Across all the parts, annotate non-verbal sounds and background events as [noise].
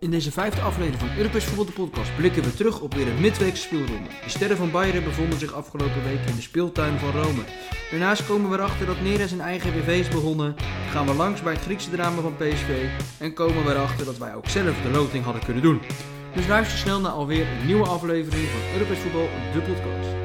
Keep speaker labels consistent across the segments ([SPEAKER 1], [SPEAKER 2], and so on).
[SPEAKER 1] In deze vijfde aflevering van Europees Voetbal de Podcast blikken we terug op weer een midweekse speelronde. De sterren van Bayern bevonden zich afgelopen week in de speeltuin van Rome. Daarnaast komen we erachter dat Nera zijn eigen BV is begonnen, gaan we langs bij het Griekse drama van PSV en komen we erachter dat wij ook zelf de loting hadden kunnen doen. Dus luister snel naar alweer een nieuwe aflevering van Europees Voetbal de Podcast.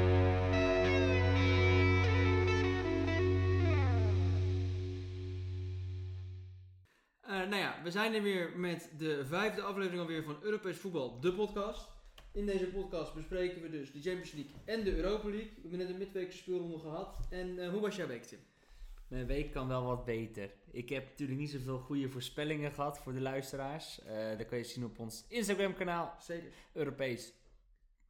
[SPEAKER 1] Eh, nou ja, we zijn er weer met de vijfde aflevering alweer van Europees Voetbal, de podcast. In deze podcast bespreken we dus de Champions League en de Europa League. We hebben net een midweekse speelronde gehad. En eh, hoe was jouw week, Tim?
[SPEAKER 2] Mijn week kan wel wat beter. Ik heb natuurlijk niet zoveel goede voorspellingen gehad voor de luisteraars. Eh dat kan je zien op ons Instagram kanaal,
[SPEAKER 1] Zeker.
[SPEAKER 2] Europees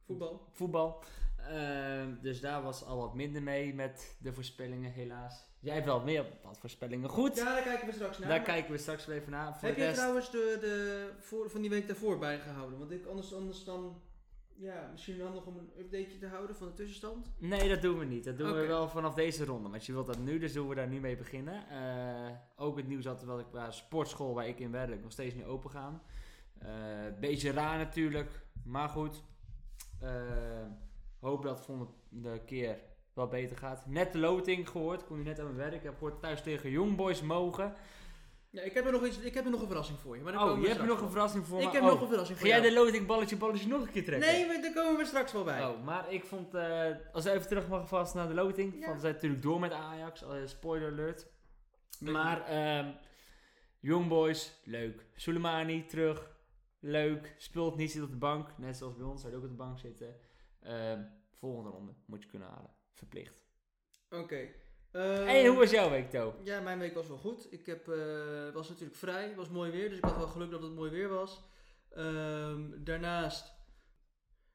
[SPEAKER 1] Voetbal?
[SPEAKER 2] voetbal. Eh, dus daar was al wat minder mee met de voorspellingen helaas. Jij hebt wel meer wat voorspellingen goed.
[SPEAKER 1] Ja, daar kijken we straks naar.
[SPEAKER 2] daar
[SPEAKER 1] Maar
[SPEAKER 2] kijken we straks wel even naar. Voor
[SPEAKER 1] Heb
[SPEAKER 2] de
[SPEAKER 1] je
[SPEAKER 2] rest,
[SPEAKER 1] trouwens de, de voor, van die week daarvoor bijgehouden? Want ik, anders, anders dan... Ja, misschien handig om een updateje te houden van de tussenstand.
[SPEAKER 2] Nee, dat doen we niet. Dat doen
[SPEAKER 1] Oké.
[SPEAKER 2] we wel vanaf deze ronde. Want je wilt dat nu, dus doen we daar nu mee beginnen. Eh, ook het nieuws had wel ik qua sportschool waar ik in werk nog steeds niet open gaan. Eh, beetje raar natuurlijk, maar goed. Eh, hoop dat het volgende keer wel beter gaat. Net de loting gehoord, kon nu net aan mijn werk. Ik heb gehoord thuis tegen Youngboys mogen.
[SPEAKER 1] Ja, ik heb er nog, iets, ik heb er nog een verrassing voor je. Maar daar
[SPEAKER 2] Oh,
[SPEAKER 1] komen
[SPEAKER 2] je
[SPEAKER 1] we
[SPEAKER 2] hebt
[SPEAKER 1] straks
[SPEAKER 2] nog een
[SPEAKER 1] wel.
[SPEAKER 2] verrassing voor me.
[SPEAKER 1] Ik heb
[SPEAKER 2] Oh,
[SPEAKER 1] nog een verrassing
[SPEAKER 2] Ga
[SPEAKER 1] voor
[SPEAKER 2] jij
[SPEAKER 1] jou.
[SPEAKER 2] de loting balletje balletje nog een keer trekken?
[SPEAKER 1] Nee, maar daar komen we straks wel bij.
[SPEAKER 2] Oh, maar ik vond, eh, als we even terug mag vast naar de loting,
[SPEAKER 1] Ja.
[SPEAKER 2] want we zijn natuurlijk door met Ajax, eh, spoiler alert.
[SPEAKER 1] Beetje-
[SPEAKER 2] Maar ehm Young Boys, leuk. Soleimani terug, leuk. Speelt niet, zit op de bank, net zoals bij ons, zou hij ook op de bank zitten. Ehm, volgende ronde moet je kunnen halen, verplicht.
[SPEAKER 1] Oké. Eh,
[SPEAKER 2] hey, hoe was jouw week, To?
[SPEAKER 1] Ja, mijn week was wel goed. Ik heb, eh, was natuurlijk vrij, het was mooi weer, dus ik had wel geluk dat het mooi weer was. Ehm, daarnaast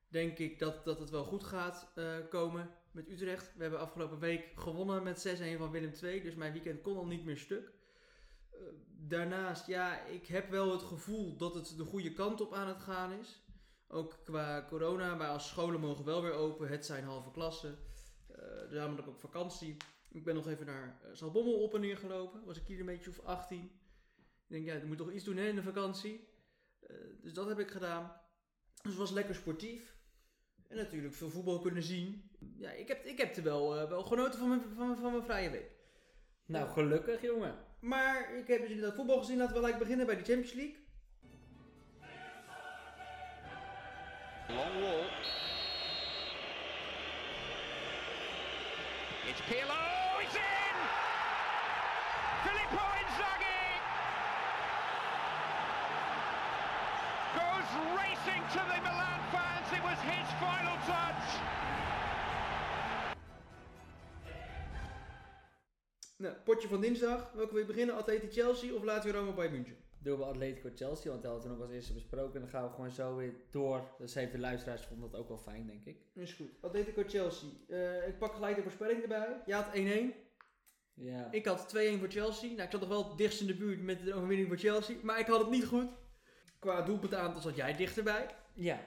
[SPEAKER 1] denk ik dat, dat het wel goed gaat eh, komen met Utrecht. We hebben afgelopen week gewonnen met 6-1 van Willem II, dus mijn weekend kon al niet meer stuk. Eh, Daarnaast, ja, ik heb wel het gevoel dat het de goede kant op aan het gaan is. Ook qua corona, maar als scholen mogen wel weer open. Het zijn halve klassen. Eh daarom heb ik ook vakantie. Ik ben nog even naar eh, Zaltbommel op en neer gelopen. Was een kilometer of 18. Ik denk, ja, je moet toch iets doen hè, in de vakantie. Eh, dus dat heb ik gedaan. Dus het was lekker sportief. En natuurlijk veel voetbal kunnen zien. Ja, ik heb, ik heb er wel, eh, wel genoten van mijn, van, mijn- van mijn vrije week.
[SPEAKER 2] Nou, gelukkig, jongen.
[SPEAKER 1] Maar ik heb dus inderdaad voetbal gezien. Laten we gelijk beginnen bij de Champions League.
[SPEAKER 3] Long wall. It's Pirlo. It's in. Filippo Inzaghi goes racing to the Milan fans. It was his final touch.
[SPEAKER 1] Nou, potje van dinsdag. Welke wil je beginnen? Atleti Chelsea of Lazio Roma bij München?
[SPEAKER 2] Doen we Atletico Chelsea, want dat hadden we nog als eerste besproken. En dan gaan we gewoon zo weer door. Dus heeft de luisteraars vonden dat ook wel fijn, denk ik.
[SPEAKER 1] Is goed. Atletico Chelsea. Eh, ik pak gelijk de voorspelling erbij. Ja, had 1-1.
[SPEAKER 2] Ja.
[SPEAKER 1] Ik had 2-1 voor Chelsea. Nou, ik zat nog wel het dichtst in de buurt met de overwinning voor Chelsea. Maar ik had het niet goed. Qua doelpuntaantal zat jij dichterbij.
[SPEAKER 2] Ja,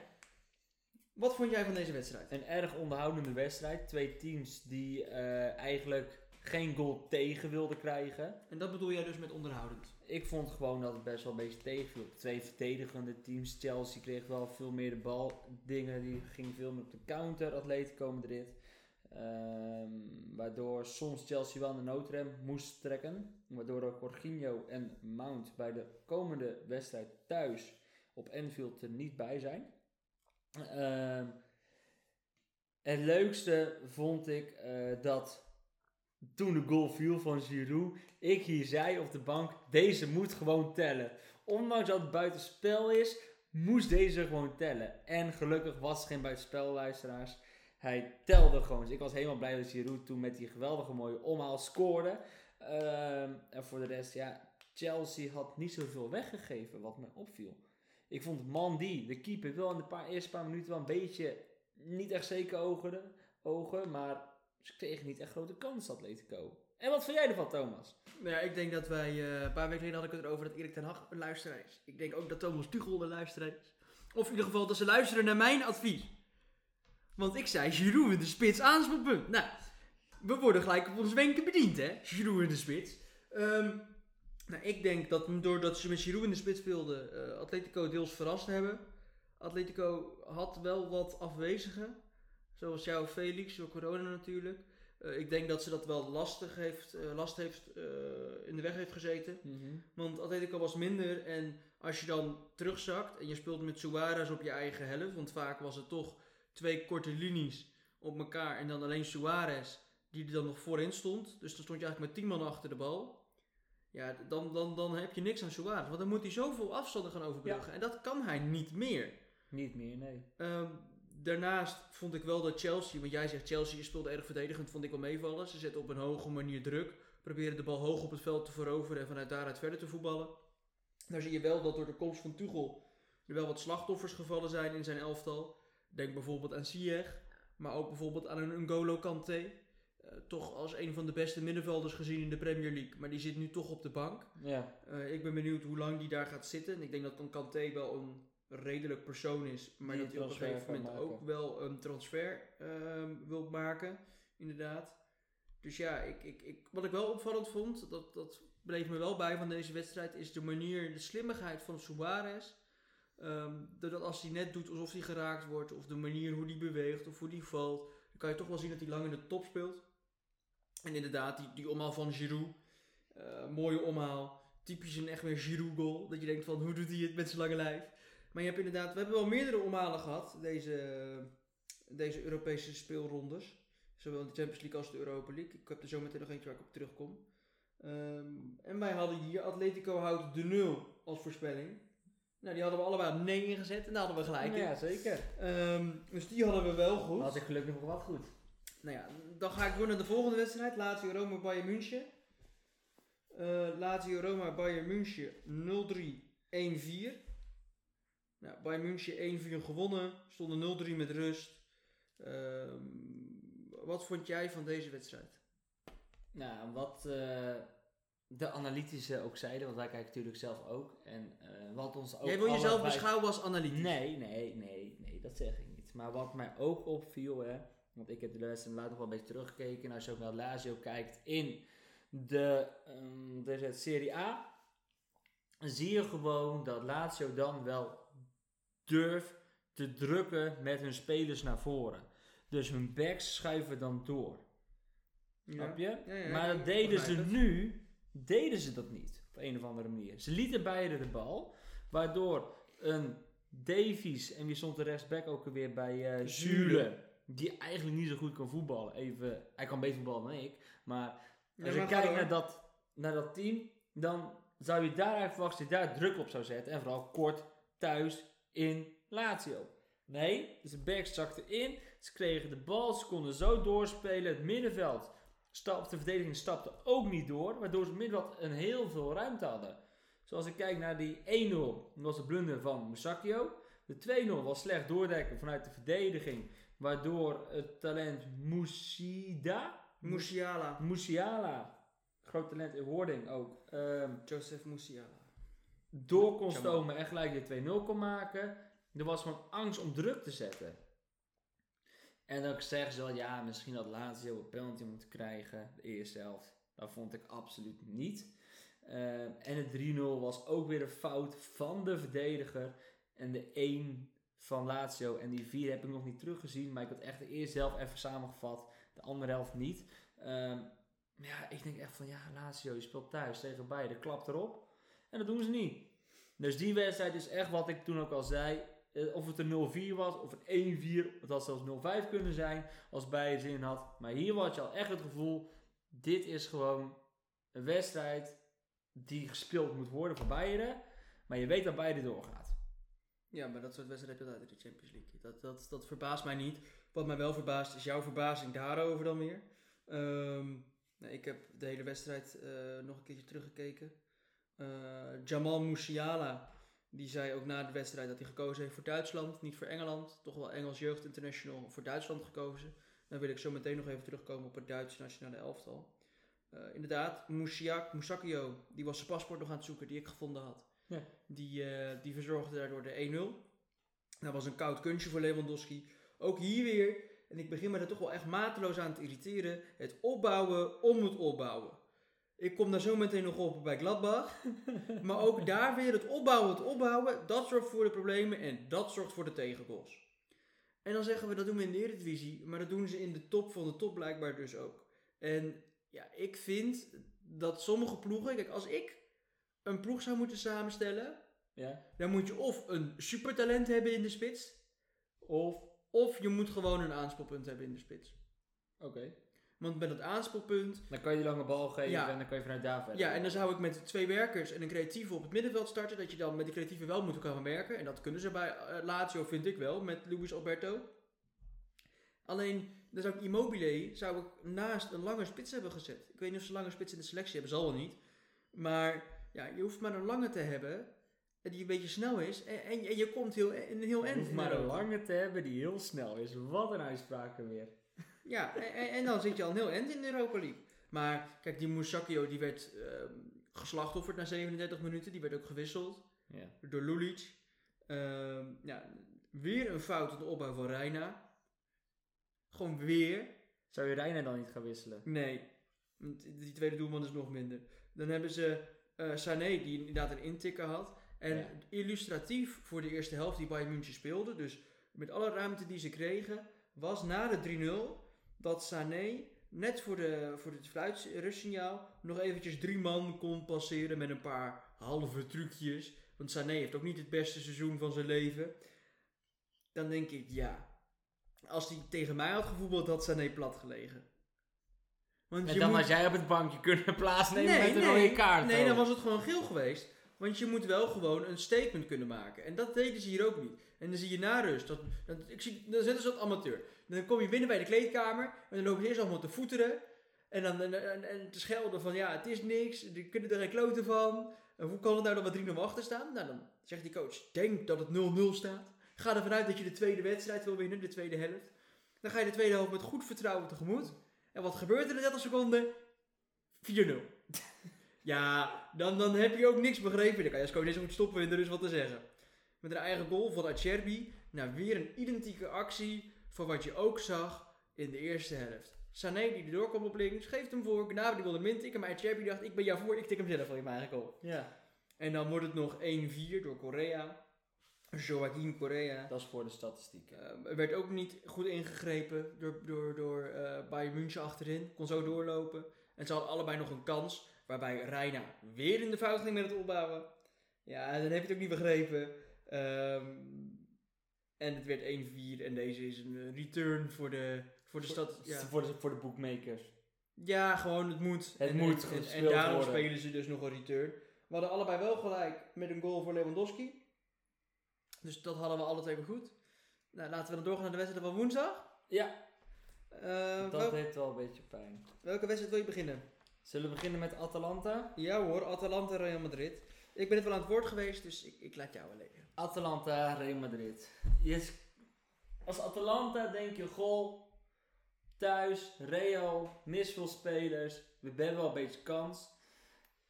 [SPEAKER 1] Wat vond jij van deze wedstrijd?
[SPEAKER 2] Een erg onderhoudende wedstrijd. Twee teams die eh, eigenlijk geen goal tegen wilden krijgen.
[SPEAKER 1] En dat bedoel jij dus met onderhoudend.
[SPEAKER 2] Ik vond gewoon dat het best wel een beetje tegenviel. Twee verdedigende teams. Chelsea kreeg wel veel meer de bal. Dingen die gingen veel meer op de counter. Atletico Madrid. Ehm, waardoor soms Chelsea wel aan de noodrem moest trekken. Waardoor ook Jorginho en Mount bij de komende wedstrijd thuis op Enfield er niet bij zijn. Ehm, het leukste vond ik eh, dat toen de goal viel van Giroud ik hier zei op de bank, deze moet gewoon tellen. Ondanks dat het buitenspel is, moest deze gewoon tellen. En gelukkig was het geen buitenspel, luisteraars. Hij telde gewoon. Dus ik was helemaal blij dat Giroud toen met die geweldige mooie omhaal scoorde. Ehm, en voor de rest, ja, Chelsea had niet zoveel weggegeven wat mij opviel. Ik vond Mandy, de keeper, wel in de paar, eerste paar minuten wel een beetje niet echt zeker ogen, ogen maar ze kregen niet echt grote kansen, Atletico. En wat vind jij ervan, Thomas?
[SPEAKER 1] Nou ja, ik denk dat wij... eh, een paar weken geleden had ik het erover dat Erik ten Hag een luisteraar is. Ik denk ook dat Thomas Tuchel een luisteraar is. Of in ieder geval dat ze luisteren naar mijn advies. Want ik zei Giroud in de spits aanspelpunt. Nou, we worden gelijk op ons wenken bediend hè. Giroud in de spits. Ehm, Nou, ik denk dat doordat ze met Giroud in de spits speelden, eh, Atletico deels verrast hebben. Atletico had wel wat afwezigen, zoals jouw Felix, door corona natuurlijk. Eh, ik denk dat ze dat wel lastig heeft, eh, last heeft, eh, in de weg heeft gezeten.
[SPEAKER 2] Mhm.
[SPEAKER 1] Want Atletico was minder en als je dan terugzakt en je speelt met Suarez op je eigen helft, want vaak was het toch twee korte linies op elkaar en dan alleen Suarez die er dan nog voorin stond. Dus dan stond je eigenlijk met 10 man achter de bal. Ja, dan, dan, dan heb je niks aan Suarez, want dan moet hij zoveel afstanden gaan overbruggen en dat kan hij niet meer.
[SPEAKER 2] Niet meer, nee.
[SPEAKER 1] Ehm, daarnaast vond ik wel dat Chelsea, want jij zegt Chelsea je speelde erg verdedigend, vond ik wel meevallen. Ze zetten op een hoge manier druk, proberen de bal hoog op het veld te veroveren en vanuit daaruit verder te voetballen. Daar zie je wel dat door de komst van Tuchel er wel wat slachtoffers gevallen zijn in zijn elftal. Denk bijvoorbeeld aan Ziyech, maar ook bijvoorbeeld aan een N'Golo Kanté. Eh, toch als een van de beste middenvelders gezien in de Premier League, maar die zit nu toch op de bank.
[SPEAKER 2] Ja,
[SPEAKER 1] Eh, ik ben benieuwd hoe lang die daar gaat zitten. En ik denk dat dan Kanté wel een redelijk persoon is, maar
[SPEAKER 2] Die
[SPEAKER 1] dat hij op een
[SPEAKER 2] transfer
[SPEAKER 1] gegeven
[SPEAKER 2] kan
[SPEAKER 1] moment
[SPEAKER 2] maken.
[SPEAKER 1] ook wel een transfer ehm, wil maken, inderdaad. Dus ja, ik, ik, ik, wat ik wel opvallend vond, dat, dat bleef me wel bij van deze wedstrijd, is de manier, de slimmigheid van Suarez. Ehm doordat als hij net doet alsof hij geraakt wordt, of de manier hoe hij beweegt, of hoe hij valt, dan kan je toch wel zien dat hij lang in de top speelt. En inderdaad, die, die omhaal van Giroud, eh, mooie omhaal. Typisch een echt weer Giroud goal, dat je denkt van hoe doet hij het met zijn lange lijf. Maar je hebt inderdaad, we hebben wel meerdere omhalen gehad, deze, deze Europese speelrondes. Zowel in de Champions League als de Europa League. Ik heb er zo meteen nog eentje waar ik op terugkom. Ehm, en wij hadden hier Atletico houdt de 0 als voorspelling. Nou, die hadden we allebei op 9 gezet en daar hadden we gelijk. in.
[SPEAKER 2] ja zeker.
[SPEAKER 1] Ehm, dus die hadden we wel goed.
[SPEAKER 2] Had ik gelukkig nog wat goed.
[SPEAKER 1] Nou ja, dan ga ik door naar de volgende wedstrijd. Lazio Roma Bayern München. Eh Lazio Roma Bayern München 0-3, 1-4. Nou, Bayern München 1-4 gewonnen. Stonden 0-3 met rust. Ehm, wat vond jij van deze wedstrijd?
[SPEAKER 2] Nou, wat eh, de analytische ook zeiden, want wij kijken natuurlijk zelf ook. En eh, wat ons ook.
[SPEAKER 1] jij wil jezelf
[SPEAKER 2] allebei-
[SPEAKER 1] beschouwen als analytisch.
[SPEAKER 2] Nee, nee, nee, nee, dat zeg ik niet. Maar wat mij ook opviel, hè, want ik heb de wedstrijd later nog wel een beetje teruggekeken. En als je ook naar Lazio kijkt in de, ehm, de Serie A, zie je gewoon dat Lazio dan wel durft te drukken met hun spelers naar voren. Dus hun backs schuiven dan door.
[SPEAKER 1] Ja.
[SPEAKER 2] Snap je?
[SPEAKER 1] Ja, ja,
[SPEAKER 2] maar
[SPEAKER 1] ik
[SPEAKER 2] dat deden ze
[SPEAKER 1] begrijp het.
[SPEAKER 2] nu, deden ze dat niet. Op een of andere manier. Ze lieten beide de bal, waardoor een Davies, en wie stond de rechtsback ook alweer bij eh Zule, die eigenlijk niet zo goed kan voetballen. Even, hij kan beter voetballen dan ik, maar
[SPEAKER 1] Ja,
[SPEAKER 2] als
[SPEAKER 1] maar
[SPEAKER 2] je
[SPEAKER 1] ga
[SPEAKER 2] kijkt
[SPEAKER 1] door.
[SPEAKER 2] naar dat, naar dat team, dan zou je daar eigenlijk verwachten dat je daar druk op zou zetten. En vooral kort thuis in Lazio. Nee, dus de backs zakten in. Ze kregen de bal, ze konden zo doorspelen. Het middenveld, stap, de verdediging stapte ook niet door. Waardoor ze het middenveld een heel veel ruimte hadden. Zoals ik kijk naar die 1-0, dat was de blunder van Musacchio. De 2-0 was slecht doordekken vanuit de verdediging. Waardoor het talent Musida,
[SPEAKER 1] Musiala.
[SPEAKER 2] Musiala, groot talent in wording ook, ehm,
[SPEAKER 1] Joseph Musiala.
[SPEAKER 2] door kon
[SPEAKER 1] Jamal.
[SPEAKER 2] stomen en gelijk de 2-0 kon maken. Er was gewoon angst om druk te zetten. En dan zeggen ze wel, ja, misschien had Lazio een penalty moeten krijgen, de eerste helft. Dat vond ik absoluut niet. Ehm, en het 3-0 was ook weer een fout van de verdediger. En de 1 van Lazio. En die 4 heb ik nog niet teruggezien, maar ik had echt de eerste helft even samengevat. De andere helft niet. Ehm, ja, ik denk echt van, ja, Lazio, je speelt thuis tegen beide. Klap erop. En dat doen ze niet. Dus die wedstrijd is echt wat ik toen ook al zei. Eh, Of het een 0-4 was, of een 1-4, het had zelfs 0-5 kunnen zijn als Bayern zin had. Maar hier had je al echt het gevoel, dit is gewoon een wedstrijd die gespeeld moet worden voor Bayern. Maar je weet dat Bayern doorgaat.
[SPEAKER 1] Ja, maar dat soort wedstrijden heb je altijd in de Champions League. Dat, dat, dat verbaast mij niet. Wat mij wel verbaast is jouw verbazing daarover dan weer. Ehm, nou, ik heb de hele wedstrijd eh, nog een keertje teruggekeken. Eh, Jamal Musiala, die zei ook na de wedstrijd dat hij gekozen heeft voor Duitsland, niet voor Engeland. Toch wel Engels Jeugd International voor Duitsland gekozen. Dan wil ik zo meteen nog even terugkomen op het Duitse nationale elftal. Eh, inderdaad, Musiak, Musakio, die was zijn paspoort nog aan het zoeken, die ik gevonden had.
[SPEAKER 2] Ja.
[SPEAKER 1] Die, eh, die verzorgde daardoor de 1-0. Dat was een koud kunstje voor Lewandowski. Ook hier weer, en ik begin me daar toch wel echt mateloos aan te irriteren. Het opbouwen om het opbouwen. Ik kom daar zo meteen nog op bij Gladbach. maar ook daar weer het opbouwen, het opbouwen. Dat zorgt voor de problemen en dat zorgt voor de tegengoals. En dan zeggen we dat doen we in de Eredivisie. Maar dat doen ze in de top van de top blijkbaar dus ook. En ja, ik vind dat sommige ploegen... Kijk, als ik een ploeg zou moeten samenstellen...
[SPEAKER 2] Ja.
[SPEAKER 1] Dan moet je of een supertalent hebben in de spits. Of, of je moet gewoon een aanspoelpunt hebben in de spits.
[SPEAKER 2] Oké.
[SPEAKER 1] Want met dat aanspoelpunt
[SPEAKER 2] Dan kan je die lange bal geven
[SPEAKER 1] Ja.
[SPEAKER 2] en dan kan je vanuit daar verder.
[SPEAKER 1] Ja, en dan zou ik met twee werkers en een creatieve op het middenveld starten. Dat je dan met die creatieve wel moet gaan werken. En dat kunnen ze bij eh, Lazio, vind ik wel, met Luis Alberto. Alleen, dan zou ik Immobile zou ik naast een lange spits hebben gezet. Ik weet niet of ze lange spits in de selectie hebben, zal wel niet. Maar ja, je hoeft maar een lange te hebben eh, die een beetje snel is. En, en, en je komt heel, een heel
[SPEAKER 2] En
[SPEAKER 1] end.
[SPEAKER 2] maar
[SPEAKER 1] Maar
[SPEAKER 2] een
[SPEAKER 1] ook.
[SPEAKER 2] lange te hebben die heel snel is. Wat een uitspraak er weer.
[SPEAKER 1] Ja, en, en- en dan zit je al een heel end in de Europa League. Maar kijk, die Moussakio die werd ehm, geslachtofferd na 37 minuten. Die werd ook gewisseld.
[SPEAKER 2] Ja.
[SPEAKER 1] door Lulic. Ehm, ja, weer een fout in de opbouw van Reina. Gewoon weer.
[SPEAKER 2] Zou je Reina dan niet gaan wisselen?
[SPEAKER 1] Nee, want die tweede doelman is nog minder. Dan hebben ze eh Sané, die inderdaad een intikker had. En
[SPEAKER 2] Ja.
[SPEAKER 1] illustratief voor de eerste helft die Bayern München speelde, dus met alle ruimte die ze kregen, was na de 3-0 dat Sané net voor, de, voor het fluitrustsignaal nog eventjes drie man kon passeren met een paar halve trucjes. Want Sané heeft ook niet het beste seizoen van zijn leven. Dan denk ik, ja, als hij tegen mij had gevoetbald, had Sané plat gelegen. Want
[SPEAKER 2] En
[SPEAKER 1] je
[SPEAKER 2] dan
[SPEAKER 1] moet-
[SPEAKER 2] had jij op het bankje kunnen [laughs] plaatsnemen met een rode kaart.
[SPEAKER 1] Nee,
[SPEAKER 2] ook.
[SPEAKER 1] dan was het gewoon geel geweest. Want je moet wel gewoon een statement kunnen maken. En dat deden ze hier ook niet. En dan zie je na rust, dat, dat, ik zie, dan zitten ze dat amateur. Dan kom je binnen bij de kleedkamer en dan lopen ze eerst allemaal te voeteren. En dan en, en, en te schelden van ja, het is niks, die kunnen er geen kloten van. En hoe kan het nou dat we 3-0 achter staan? Nou, dan zegt die coach, denk dat het 0-0 staat. Ga ervan uit dat je de tweede wedstrijd wil winnen, de tweede helft. Dan ga je de tweede helft met goed vertrouwen tegemoet. En wat gebeurt er in 30 seconden? 4-0. ja, dan, dan heb je ook niks begrepen. Dan kan je als coach niet zo goed stoppen en er is wat te zeggen. Met een eigen goal van Acerbi. Nou, weer een identieke actie van wat je ook zag in de eerste helft. Sané die erdoor kwam op links, geeft hem voor. Gnabry wilde min tikken, maar Acerbi dacht, ik ben jou voor, ik tik hem zelf al in mijn eigen goal.
[SPEAKER 2] Ja.
[SPEAKER 1] En dan wordt het nog 1-4 door Correa. Joaquin Correa.
[SPEAKER 2] Dat is voor de statistieken.
[SPEAKER 1] Ehm, Er werd ook niet goed ingegrepen door, door, door eh Bayern München achterin. Kon zo doorlopen. En ze hadden allebei nog een kans. Waarbij Reina weer in de fout ging met het opbouwen. Ja, dan heb je het ook niet begrepen. Ehm, en het werd 1-4. En deze is een eh, return voor de, voor de stad. Ja.
[SPEAKER 2] voor, de, voor de bookmakers.
[SPEAKER 1] Ja, gewoon het moet.
[SPEAKER 2] Het
[SPEAKER 1] en,
[SPEAKER 2] moet
[SPEAKER 1] En, en,
[SPEAKER 2] gespeeld
[SPEAKER 1] daarom
[SPEAKER 2] worden.
[SPEAKER 1] spelen ze dus nog een return. We hadden allebei wel gelijk met een goal voor Lewandowski. Dus dat hadden we alle twee weer goed. Nou, laten we dan doorgaan naar de wedstrijd van woensdag.
[SPEAKER 2] Ja,
[SPEAKER 1] Eh,
[SPEAKER 2] dat
[SPEAKER 1] wel-
[SPEAKER 2] heeft wel een beetje pijn.
[SPEAKER 1] welke wedstrijd wil je beginnen?
[SPEAKER 2] Zullen we beginnen met Atalanta?
[SPEAKER 1] Ja hoor, Atalanta Real Madrid. Ik ben het wel aan het woord geweest, dus ik, ik laat jou alleen.
[SPEAKER 2] Atalanta, Real Madrid. Yes. Als Atalanta denk je, goh, thuis, Real, mis veel spelers. We hebben wel een beetje kans.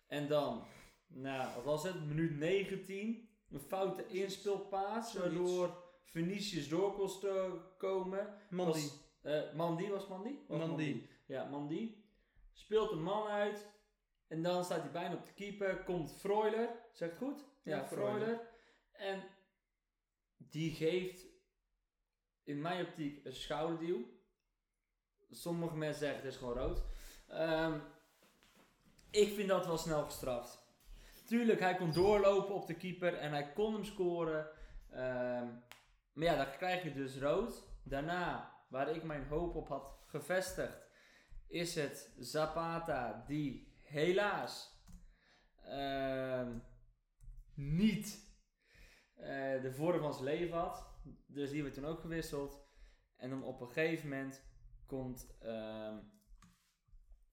[SPEAKER 2] En dan, nou, wat was het? Minuut 19. Een foute inspeelpaas,
[SPEAKER 1] Zoiets.
[SPEAKER 2] waardoor Venetius door kon sto- komen.
[SPEAKER 1] Mandy.
[SPEAKER 2] Was, eh, Mandy was Mandy? Was
[SPEAKER 1] Mandy.
[SPEAKER 2] Ja, Mandy. Speelt een man uit. En dan staat hij bijna op de keeper. Komt Freuler. Zegt het goed?
[SPEAKER 1] Ja, Freuler.
[SPEAKER 2] En die geeft in mijn optiek een schouderduw. Sommige mensen zeggen het is gewoon rood. Ehm, ik vind dat wel snel gestraft. Tuurlijk, hij kon doorlopen op de keeper en hij kon hem scoren. Ehm, maar ja, dan krijg je dus rood. Daarna, waar ik mijn hoop op had gevestigd, is het Zapata die helaas ehm, niet eh, de vorm van zijn leven had. Dus die werd toen ook gewisseld. En dan op een gegeven moment komt ehm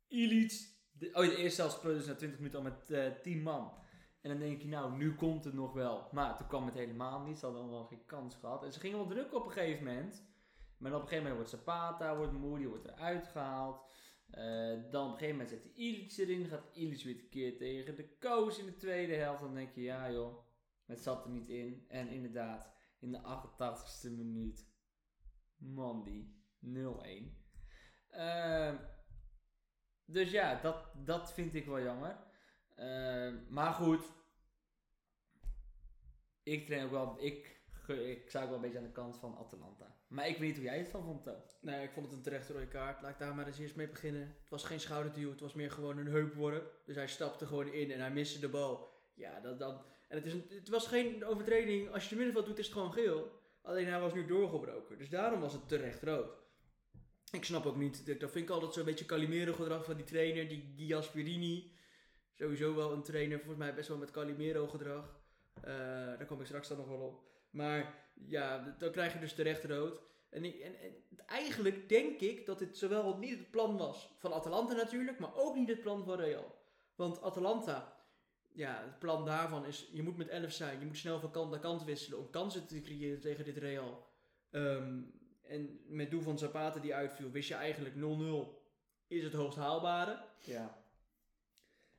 [SPEAKER 2] Illich. De, oh, de eerste helft speelde dus na 20 minuten al met eh 10 man. En dan denk je, nou, nu komt het nog wel. Maar toen kwam het helemaal niet. Ze hadden allemaal geen kans gehad. En ze gingen wel druk op een gegeven moment. Maar dan op een gegeven moment wordt Zapata, wordt moe, die wordt eruit gehaald. Eh, dan op een gegeven moment zet hij Illich erin. Gaat Illich weer een keer tegen de Koos in de tweede helft. Dan denk je, ja joh, het zat er niet in. En inderdaad, in de 88ste minuut. Mandy, 0-1. Ehm, Dus ja, dat, dat vind ik wel jammer. Ehm, maar goed. Ik train ook wel. Ik, ge- ik sta ook wel een beetje aan de kant van Atalanta. Maar ik weet niet hoe jij het van vond, Toon.
[SPEAKER 1] Nee, ik vond het een terechte rode kaart. Laat ik daar maar eens eerst mee beginnen. Het was geen schouderduw, het was meer gewoon een heupworp. Dus hij stapte gewoon in en hij miste de bal. Ja, dat dan. En het, is een, het was geen overtreding. Als je het middenveld doet, is het gewoon geel. Alleen hij was nu doorgebroken. Dus daarom was het terecht rood. Ik snap ook niet. dat- Dat vind ik altijd zo'n beetje Calimero gedrag van die trainer, die, die Gasperini. Sowieso wel een trainer, volgens mij best wel met Calimero gedrag. Eh, daar kom ik straks dan nog wel op. Maar ja, dan krijg je dus terecht rood. En, ik- en, en eigenlijk denk ik dat dit zowel niet het plan was van Atalanta natuurlijk, maar ook niet het plan van Real. Want Atalanta, ja, het plan daarvan is, je moet met 11 zijn, je moet snel van kant naar kant wisselen om kansen te creëren tegen dit Real. Ehm, en met doel van Zapata die uitviel, wist je eigenlijk 0-0 is het hoogst haalbare.
[SPEAKER 2] Ja.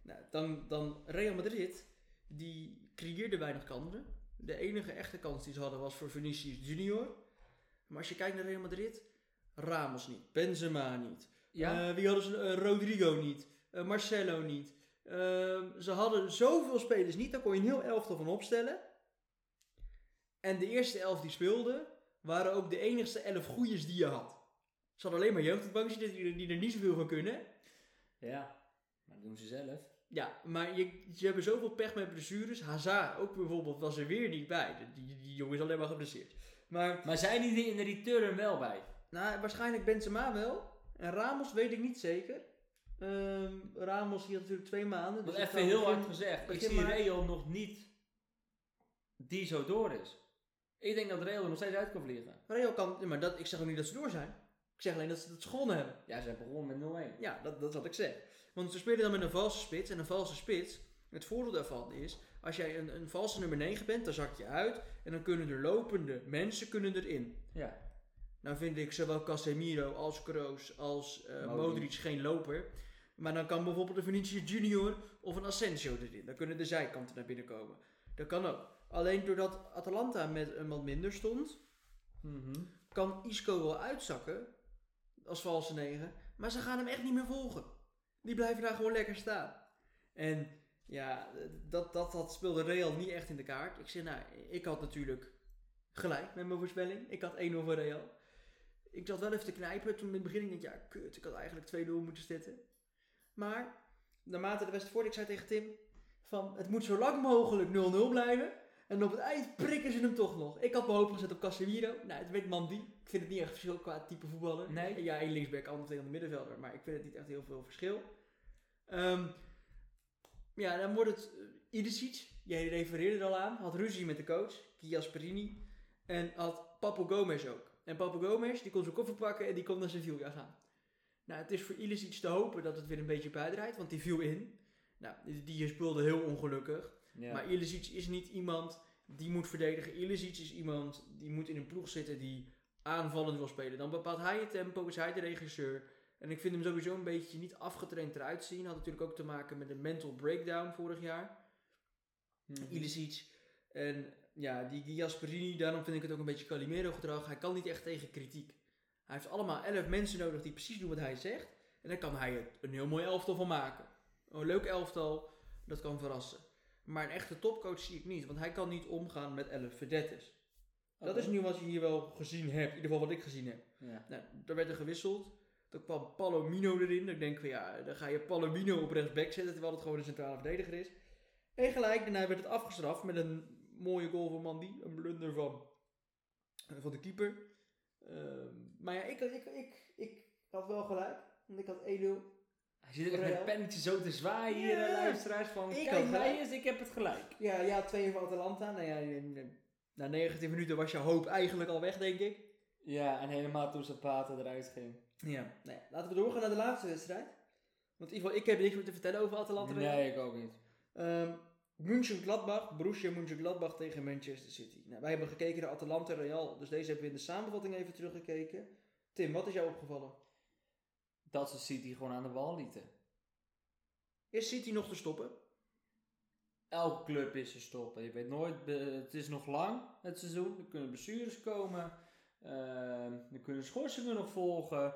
[SPEAKER 1] Nou, dan, dan Real Madrid, die creëerde weinig kansen. De enige echte kans die ze hadden was voor Vinicius Junior. Maar als je kijkt naar Real Madrid, Ramos niet, Benzema niet.
[SPEAKER 2] Ja?
[SPEAKER 1] Eh, wie hadden ze? Eh, Rodrigo niet, eh, Marcelo niet. Ehm, ze hadden zoveel spelers niet, daar kon je een heel elftal van opstellen. En de eerste elf die speelden, waren ook de enigste elf goeies die je had. Ze hadden alleen maar jeugdbankjes die, die er niet zoveel van kunnen.
[SPEAKER 2] ja. Maar dat doen ze zelf.
[SPEAKER 1] Ja, maar je, ze hebben zoveel pech met blessures. Hazard ook bijvoorbeeld was er weer niet bij. Die- Die, die jongen is alleen maar geblesseerd. Maar
[SPEAKER 2] Maar zijn die er in de return wel bij?
[SPEAKER 1] nou, waarschijnlijk Benzema wel. En Ramos weet ik niet zeker. Ehm, Ramos hier natuurlijk twee maanden. Dus
[SPEAKER 2] Want
[SPEAKER 1] ik
[SPEAKER 2] even
[SPEAKER 1] zou
[SPEAKER 2] heel
[SPEAKER 1] begin-
[SPEAKER 2] hard gezegd, ik
[SPEAKER 1] begin
[SPEAKER 2] zie
[SPEAKER 1] maart-
[SPEAKER 2] Real nog niet die zo door is. Ik denk dat Real er nog steeds uit kan vliegen.
[SPEAKER 1] Real kan... nee, maar dat, ik zeg ook niet dat ze door zijn. Ik zeg alleen dat ze het schonnen hebben.
[SPEAKER 2] Ja, ze begonnen met 0-1.
[SPEAKER 1] Ja, dat, dat is wat ik zeg. Want ze spelen dan met een valse spits. En een valse spits, het voordeel daarvan is... Als jij een, een valse nummer 9 bent, dan zak je uit. En dan kunnen er lopende mensen kunnen erin.
[SPEAKER 2] Ja.
[SPEAKER 1] Nou vind ik zowel Casemiro als Kroos als eh,
[SPEAKER 2] Modric.
[SPEAKER 1] Modric. geen loper. Maar dan kan bijvoorbeeld een Vinicius Junior of een Asensio erin. Dan kunnen de zijkanten naar binnen komen. Dat kan ook. Alleen doordat Atalanta met een man minder stond,
[SPEAKER 2] Mhm.
[SPEAKER 1] kan Isco wel uitzakken als valse negen. Maar ze gaan hem echt niet meer volgen. Die blijven daar gewoon lekker staan. En ja, dat, dat, dat speelde Real niet echt in de kaart. Ik zei, nou, ik had natuurlijk gelijk met mijn voorspelling. Ik had 1-0 voor Real. Ik zat wel even te knijpen toen in het begin. Ik denk, ja, kut, ik had eigenlijk 2-0 moeten zitten. Maar naarmate de wedstrijd voort, ik zei tegen Tim: van het moet zo lang mogelijk 0-0 blijven. En op het eind prikken ze hem toch nog. Ik had mijn hoop gezet op Casemiro. Nou, het werd Mandy. Ik vind het niet echt verschil qua type voetballer.
[SPEAKER 2] Nee.
[SPEAKER 1] Ja, één linksback, ander tegen de middenvelder. Maar ik vind het niet echt heel veel verschil. Ehm, ja, dan wordt het uh, Idisic. Jij refereerde er al aan. Had ruzie met de coach, Chiasperini. En had Papo Gomez ook. En Papo Gomez, die kon zijn koffer pakken en die kon naar Sevilla gaan. Nou, het is voor Ilicic te hopen dat het weer een beetje bijdraait, want die viel in. Nou, die, die speelde heel ongelukkig.
[SPEAKER 2] Ja.
[SPEAKER 1] Maar Ilicic is niet iemand die moet verdedigen. Ilicic is iemand die moet in een ploeg zitten die aanvallend wil spelen. Dan bepaalt hij het tempo, is hij de regisseur. En ik vind hem sowieso een beetje niet afgetraind eruit zien. Had natuurlijk ook te maken met een mental breakdown vorig jaar.
[SPEAKER 2] Mhm.
[SPEAKER 1] Ilicic. En ja, die, die Gasperini, daarom vind ik het ook een beetje Calimero-gedrag. Hij kan niet echt tegen kritiek. Hij heeft allemaal elf mensen nodig die precies doen wat hij zegt. En daar kan hij het- een heel mooi elftal van maken. Een leuk elftal, dat kan verrassen. Maar een echte topcoach zie ik niet, want hij kan niet omgaan met elf verdettes. Dat
[SPEAKER 2] Oké.
[SPEAKER 1] is nu wat je hier wel gezien hebt, in ieder geval wat ik gezien heb.
[SPEAKER 2] Ja.
[SPEAKER 1] Nou, daar werd er gewisseld. Toen kwam Palomino erin. Ik denk van ja, dan ga je Palomino op rechtsback zetten terwijl het gewoon een centrale verdediger is. En gelijk daarna werd het afgestraft met een mooie goal van Mandy. Een blunder van, eh, van de keeper. Ehm, maar ja, ik, ik, ik, ik had wel gelijk. Want ik had 1-0.
[SPEAKER 2] Hij zit ook echt met
[SPEAKER 1] Real.
[SPEAKER 2] een pennetje zo te zwaaien hier,
[SPEAKER 1] Ja.
[SPEAKER 2] eh, luisteraars. Van,
[SPEAKER 1] Ik had
[SPEAKER 2] kijk mij
[SPEAKER 1] gelijk.
[SPEAKER 2] eens, ik heb het gelijk.
[SPEAKER 1] Ja, ja 2 voor Atalanta. Nou ja, in- in- na 19 minuten was je hoop eigenlijk al weg, denk ik.
[SPEAKER 2] Ja, en helemaal toen Zapata eruit ging.
[SPEAKER 1] Ja. Nou ja, laten we doorgaan naar de laatste wedstrijd. Want in ieder geval, ik heb niks meer te vertellen over Atalanta.
[SPEAKER 2] Nee, ik ook niet.
[SPEAKER 1] Ehm München-Gladbach, Borussia München-Gladbach tegen Manchester City. Nou, wij hebben gekeken naar Atalanta en Real, dus deze hebben we in de samenvatting even teruggekeken. Tim, wat is jou opgevallen?
[SPEAKER 2] Dat ze City gewoon aan de wal lieten.
[SPEAKER 1] Is City nog te stoppen?
[SPEAKER 2] elke club is te stoppen. Je weet nooit, be- het is nog lang het seizoen. Er kunnen blessures komen. Ehm er kunnen schorsingen nog volgen.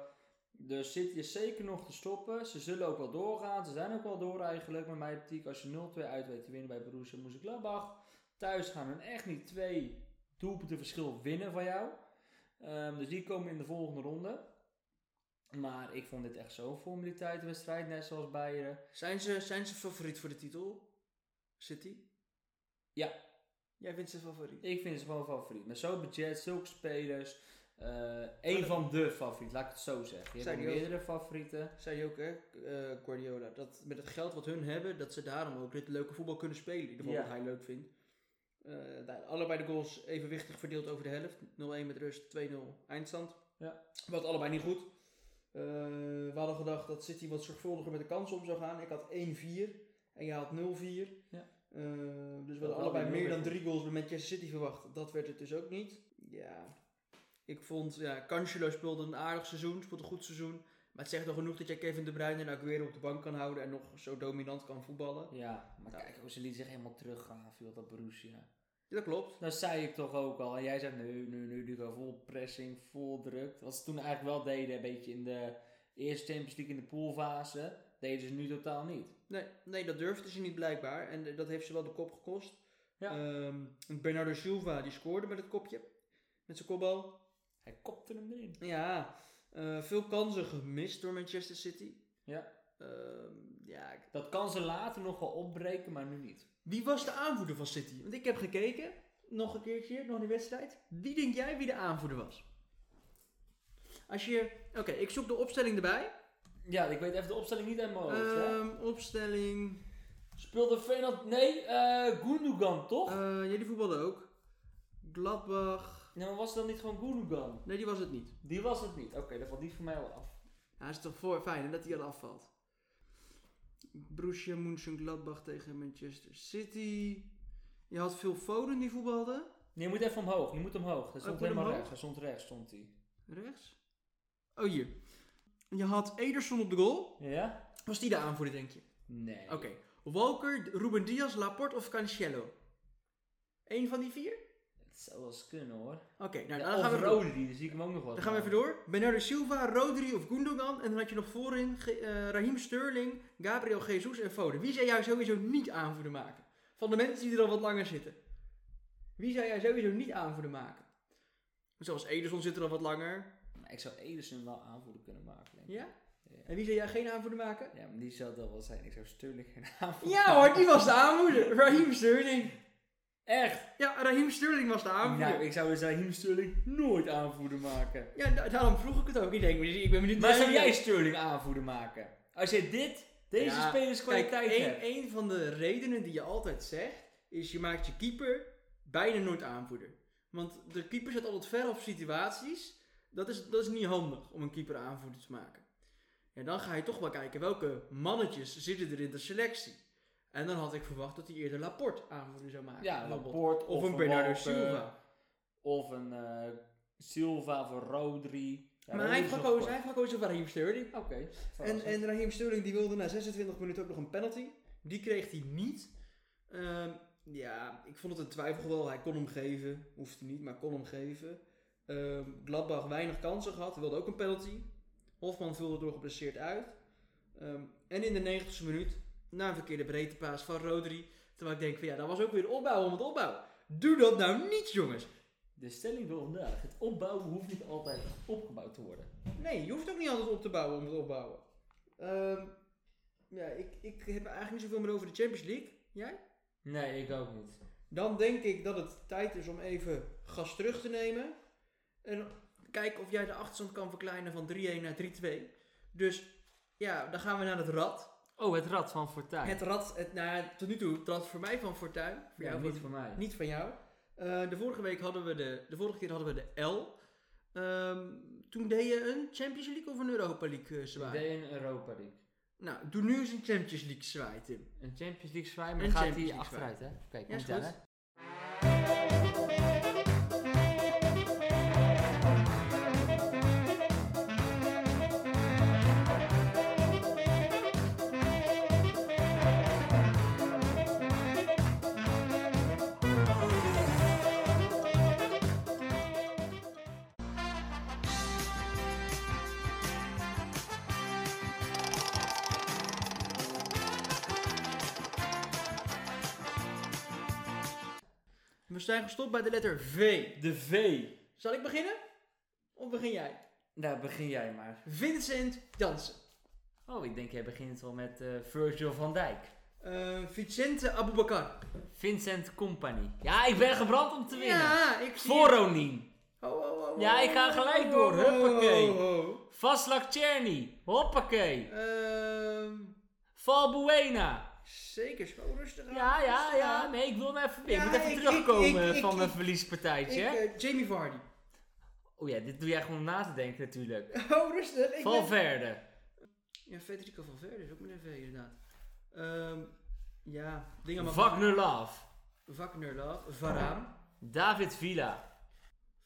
[SPEAKER 2] Dus City is zeker nog te stoppen. Ze zullen ook wel doorgaan. Ze zijn ook wel door eigenlijk. Maar mijn optiek, als je 0-2 uit weet te winnen bij Borussia Mönchengladbach. Thuis gaan hun echt niet twee doelpunten verschil winnen van jou. Ehm, dus die komen in de volgende ronde. Maar ik vond dit echt zo'n formaliteitenwedstrijd. Net zoals Bayern.
[SPEAKER 1] Zijn ze, zijn ze favoriet voor de titel? City?
[SPEAKER 2] Ja.
[SPEAKER 1] Jij vindt ze favoriet.
[SPEAKER 2] Ik vind ze gewoon favoriet. Met zo'n budget, zulke spelers. eh, een van de favorieten, laat ik het zo zeggen. Je
[SPEAKER 1] Zijn
[SPEAKER 2] hebt
[SPEAKER 1] die ook-
[SPEAKER 2] meerdere favorieten.
[SPEAKER 1] Zei je ook, hè, eh, Guardiola, dat met het geld wat hun hebben, dat ze daarom ook dit leuke voetbal kunnen spelen. In ieder geval
[SPEAKER 2] Ja.
[SPEAKER 1] wat hij leuk vindt. Eh, daar- allebei de goals evenwichtig verdeeld over de helft. 0-1 met rust, 2-0 eindstand.
[SPEAKER 2] Ja.
[SPEAKER 1] Wat allebei niet goed. Eh, we hadden gedacht dat City wat zorgvuldiger met de kansen om zou gaan. Ik had 1-4 en jij had 0-4.
[SPEAKER 2] Ja.
[SPEAKER 1] Eh, dus we
[SPEAKER 2] hadden
[SPEAKER 1] hadden allebei
[SPEAKER 2] nul
[SPEAKER 1] meer dan
[SPEAKER 2] weer.
[SPEAKER 1] drie goals bij Manchester City verwacht. Dat werd het dus ook niet. Ja, ik vond, ja, Cancelo speelde een aardig seizoen, speelde een goed seizoen. Maar het zegt nog genoeg dat jij Kevin De Bruyne en Aguero op de bank kan houden en nog zo dominant kan voetballen.
[SPEAKER 2] Ja, maar
[SPEAKER 1] Nou.
[SPEAKER 2] kijk hoe ze liet zich helemaal teruggaan, viel dat Borussia.
[SPEAKER 1] Dat klopt.
[SPEAKER 2] Dat zei ik toch ook al. En jij zegt nu, nu, nu, nu gaan vol pressing, vol druk. Wat ze toen eigenlijk wel deden, een beetje in de eerste Champions League in de poolfase, deden ze nu totaal niet.
[SPEAKER 1] Nee, nee, dat durfde ze niet blijkbaar. En eh, dat heeft ze wel de kop gekost.
[SPEAKER 2] Ja.
[SPEAKER 1] Ehm, Bernardo Silva, die scoorde met het kopje. Met zijn kopbal.
[SPEAKER 2] Hij kopte hem erin.
[SPEAKER 1] Ja, eh, veel kansen gemist door Manchester City.
[SPEAKER 2] Ja.
[SPEAKER 1] Ehm, ja, ik-
[SPEAKER 2] Dat kan ze later nog wel opbreken, maar nu niet.
[SPEAKER 1] wie was de aanvoerder van City? Want ik heb gekeken, nog een keertje, nog in die wedstrijd. Wie denk jij wie de aanvoerder was? Als je, oké, ik zoek de opstelling erbij.
[SPEAKER 2] Ja, ik weet even de opstelling niet helemaal. mijn hoofd, hè.
[SPEAKER 1] Ehm, opstelling.
[SPEAKER 2] Speelde Feyenoord... Nee, eh Gundogan, toch?
[SPEAKER 1] Eh, ja, die voetbalde ook. Gladbach.
[SPEAKER 2] Nee, maar was het dan niet gewoon Gundogan?
[SPEAKER 1] Nee, die was het niet.
[SPEAKER 2] Die was het niet. Oké, dat valt niet voor mij al af.
[SPEAKER 1] Ja, het is toch voor fijn hè, dat hij al afvalt. Borussia Mönchengladbach tegen Manchester City. Je had veel Foden die voetbalde.
[SPEAKER 2] Nee, je moet even omhoog. Je moet omhoog. Hij stond
[SPEAKER 1] Oh, moet
[SPEAKER 2] helemaal
[SPEAKER 1] omhoog?
[SPEAKER 2] rechts. Hij stond rechts, stond hij.
[SPEAKER 1] Rechts. Oh, hier. Je had Ederson op de goal.
[SPEAKER 2] Ja?
[SPEAKER 1] Was die de aanvoerder, denk je?
[SPEAKER 2] Nee.
[SPEAKER 1] Oké. Walker, Ruben Diaz, Laporte of Cancelo? Eén van die vier?
[SPEAKER 2] Het zou wel eens kunnen hoor.
[SPEAKER 1] Oké, nou
[SPEAKER 2] Ja,
[SPEAKER 1] dan gaan
[SPEAKER 2] of
[SPEAKER 1] we door.
[SPEAKER 2] Rodri, daar zie ik hem ook nog wel.
[SPEAKER 1] Dan gaan we even door. Bernardo Silva, Rodri of Gundogan. En dan had je nog voorin Ge- eh, Raheem Sterling, Gabriel Jesus en Foden. Wie zou jij sowieso niet aanvoerder maken? Van de mensen die er al wat langer zitten. Wie zou jij sowieso niet aanvoerder maken? Zoals Ederson zit er al wat langer.
[SPEAKER 2] Maar ik zou Ederson wel aanvoerder kunnen maken. Denk ik.
[SPEAKER 1] Ja?
[SPEAKER 2] Ja.
[SPEAKER 1] En wie zou jij geen aanvoerder
[SPEAKER 2] [laughs]
[SPEAKER 1] maken?
[SPEAKER 2] Ja, maar die zou dat wel zijn. Ik zou Sterling geen [laughs] aanvoerder
[SPEAKER 1] Ja hoor, die was de aanvoerder. Raheem Sterling.
[SPEAKER 2] Echt?
[SPEAKER 1] Ja, Raheem Sterling was de aanvoerder.
[SPEAKER 2] Nou, ik zou dus Raheem Sterling nooit aanvoerder maken.
[SPEAKER 1] Ja, da- daarom vroeg ik het ook. Ik denk, ik ben benieuwd.
[SPEAKER 2] Maar zou jij Sterling aanvoerder maken? Als jij dit, deze
[SPEAKER 1] Ja,
[SPEAKER 2] spelerskwaliteit
[SPEAKER 1] Kijk,
[SPEAKER 2] hebt.
[SPEAKER 1] een, een van de redenen die je altijd zegt, is je maakt je keeper bijna nooit aanvoerder. Want de keeper zit altijd ver op situaties. Dat is, dat is niet handig om een keeper aanvoerder te maken. Ja, dan ga je toch wel kijken welke mannetjes zitten er in de selectie. En dan had ik verwacht dat hij eerder Laporte aanvoerder zou maken.
[SPEAKER 2] Ja,
[SPEAKER 1] Bijvoorbeeld.
[SPEAKER 2] Laporte
[SPEAKER 1] Of, een Bernardo
[SPEAKER 2] Walker,
[SPEAKER 1] Silva.
[SPEAKER 2] Of een eh, Silva voor Rodri.
[SPEAKER 1] maar
[SPEAKER 2] Ja, Rodri
[SPEAKER 1] hij
[SPEAKER 2] is
[SPEAKER 1] heeft
[SPEAKER 2] nog
[SPEAKER 1] gekozen, hij
[SPEAKER 2] kort.
[SPEAKER 1] heeft gekozen voor Raheem Sterling.
[SPEAKER 2] Oké.
[SPEAKER 1] En,
[SPEAKER 2] verrassend.
[SPEAKER 1] en Raheem Sterling die wilde na 26 minuten ook nog een penalty. Die kreeg hij niet. Ehm, ja, ik vond het een twijfelgeval. Hij kon hem geven. Hoefde niet, maar kon hem geven. Ehm Gladbach weinig kansen gehad. Wilde ook een penalty. Hofman viel erdoor geblesseerd uit. Ehm, en in de 90ste minuut, na een verkeerde breedtepaas van Rodri. Terwijl ik denk van ja, dat was ook weer opbouw om het opbouw. Doe dat nou niet, jongens.
[SPEAKER 2] De stelling van vandaag. Het opbouwen hoeft niet altijd opgebouwd te worden.
[SPEAKER 1] Nee, je hoeft ook niet altijd op te bouwen om het opbouwen. Ehm, ja, ik, ik heb eigenlijk niet zoveel meer over de Champions League. Jij?
[SPEAKER 2] Nee, ik ook niet.
[SPEAKER 1] Dan denk ik dat het tijd is om even gas terug te nemen. En kijken of jij de achterstand kan verkleinen van 3-1 naar 3-2. Dus ja, dan gaan we naar het rad.
[SPEAKER 2] Oh, het rad van Fortuin.
[SPEAKER 1] Het rad, het, nou, ja, tot nu toe, het rad voor mij van Fortuin. Voor
[SPEAKER 2] ja,
[SPEAKER 1] jou
[SPEAKER 2] niet
[SPEAKER 1] van-
[SPEAKER 2] voor mij.
[SPEAKER 1] niet van jou. Eh, de vorige week hadden we de, de vorige keer hadden we de L. Ehm, toen deed je een Champions League of een Europa League eh,
[SPEAKER 2] Ik
[SPEAKER 1] zwaai?
[SPEAKER 2] deed een Europa League.
[SPEAKER 1] Nou, doe nu eens een Champions League zwaai, Tim.
[SPEAKER 2] Een Champions League zwaai, maar
[SPEAKER 1] Een
[SPEAKER 2] dan gaat
[SPEAKER 1] Champions
[SPEAKER 2] hij
[SPEAKER 1] League zwaai.
[SPEAKER 2] achteruit, hè? Kijk,
[SPEAKER 1] Ja,
[SPEAKER 2] komt
[SPEAKER 1] is
[SPEAKER 2] daar,
[SPEAKER 1] goed.
[SPEAKER 2] hè?
[SPEAKER 1] zijn gestopt bij de letter V.
[SPEAKER 2] De V.
[SPEAKER 1] Zal ik beginnen? Of begin jij?
[SPEAKER 2] Nou, begin jij maar.
[SPEAKER 1] Vincent Jansen.
[SPEAKER 2] Oh, ik denk jij begint al met eh, Virgil van Dijk.
[SPEAKER 1] Eh Vicente Abubakar.
[SPEAKER 2] Vincent Company. Ja, ik ben gebrand om te winnen.
[SPEAKER 1] Ja, ik zie...
[SPEAKER 2] Voronin.
[SPEAKER 1] Oh, oh, oh, oh,
[SPEAKER 2] Ja, ik ga
[SPEAKER 1] oh,
[SPEAKER 2] gelijk
[SPEAKER 1] oh,
[SPEAKER 2] door.
[SPEAKER 1] oh, oh,
[SPEAKER 2] Huppakee.
[SPEAKER 1] oh, oh.
[SPEAKER 2] Vaslak Czerny. Hoppakee.
[SPEAKER 1] Ehm,
[SPEAKER 2] Valbuena.
[SPEAKER 1] zeker, zo rustig aan.
[SPEAKER 2] Ja, ja,
[SPEAKER 1] rustig
[SPEAKER 2] ja.
[SPEAKER 1] aan.
[SPEAKER 2] Nee, ik wil even, ik
[SPEAKER 1] Ja,
[SPEAKER 2] moet even
[SPEAKER 1] ik-
[SPEAKER 2] terugkomen
[SPEAKER 1] ik- ik-
[SPEAKER 2] van
[SPEAKER 1] ik-
[SPEAKER 2] mijn
[SPEAKER 1] ik-
[SPEAKER 2] verliespartijtje.
[SPEAKER 1] Ik, eh, Jamie
[SPEAKER 2] [laughs]
[SPEAKER 1] Vardy.
[SPEAKER 2] oh ja, dit doe jij gewoon om na te denken natuurlijk.
[SPEAKER 1] Oh, rustig. Ik ben-
[SPEAKER 2] Valverde.
[SPEAKER 1] Ja, Federico Valverde is ook met een V inderdaad. Ehm, ja, dingen maar.
[SPEAKER 2] Wagner Love.
[SPEAKER 1] Wagner Love. Varaan.
[SPEAKER 2] David Villa.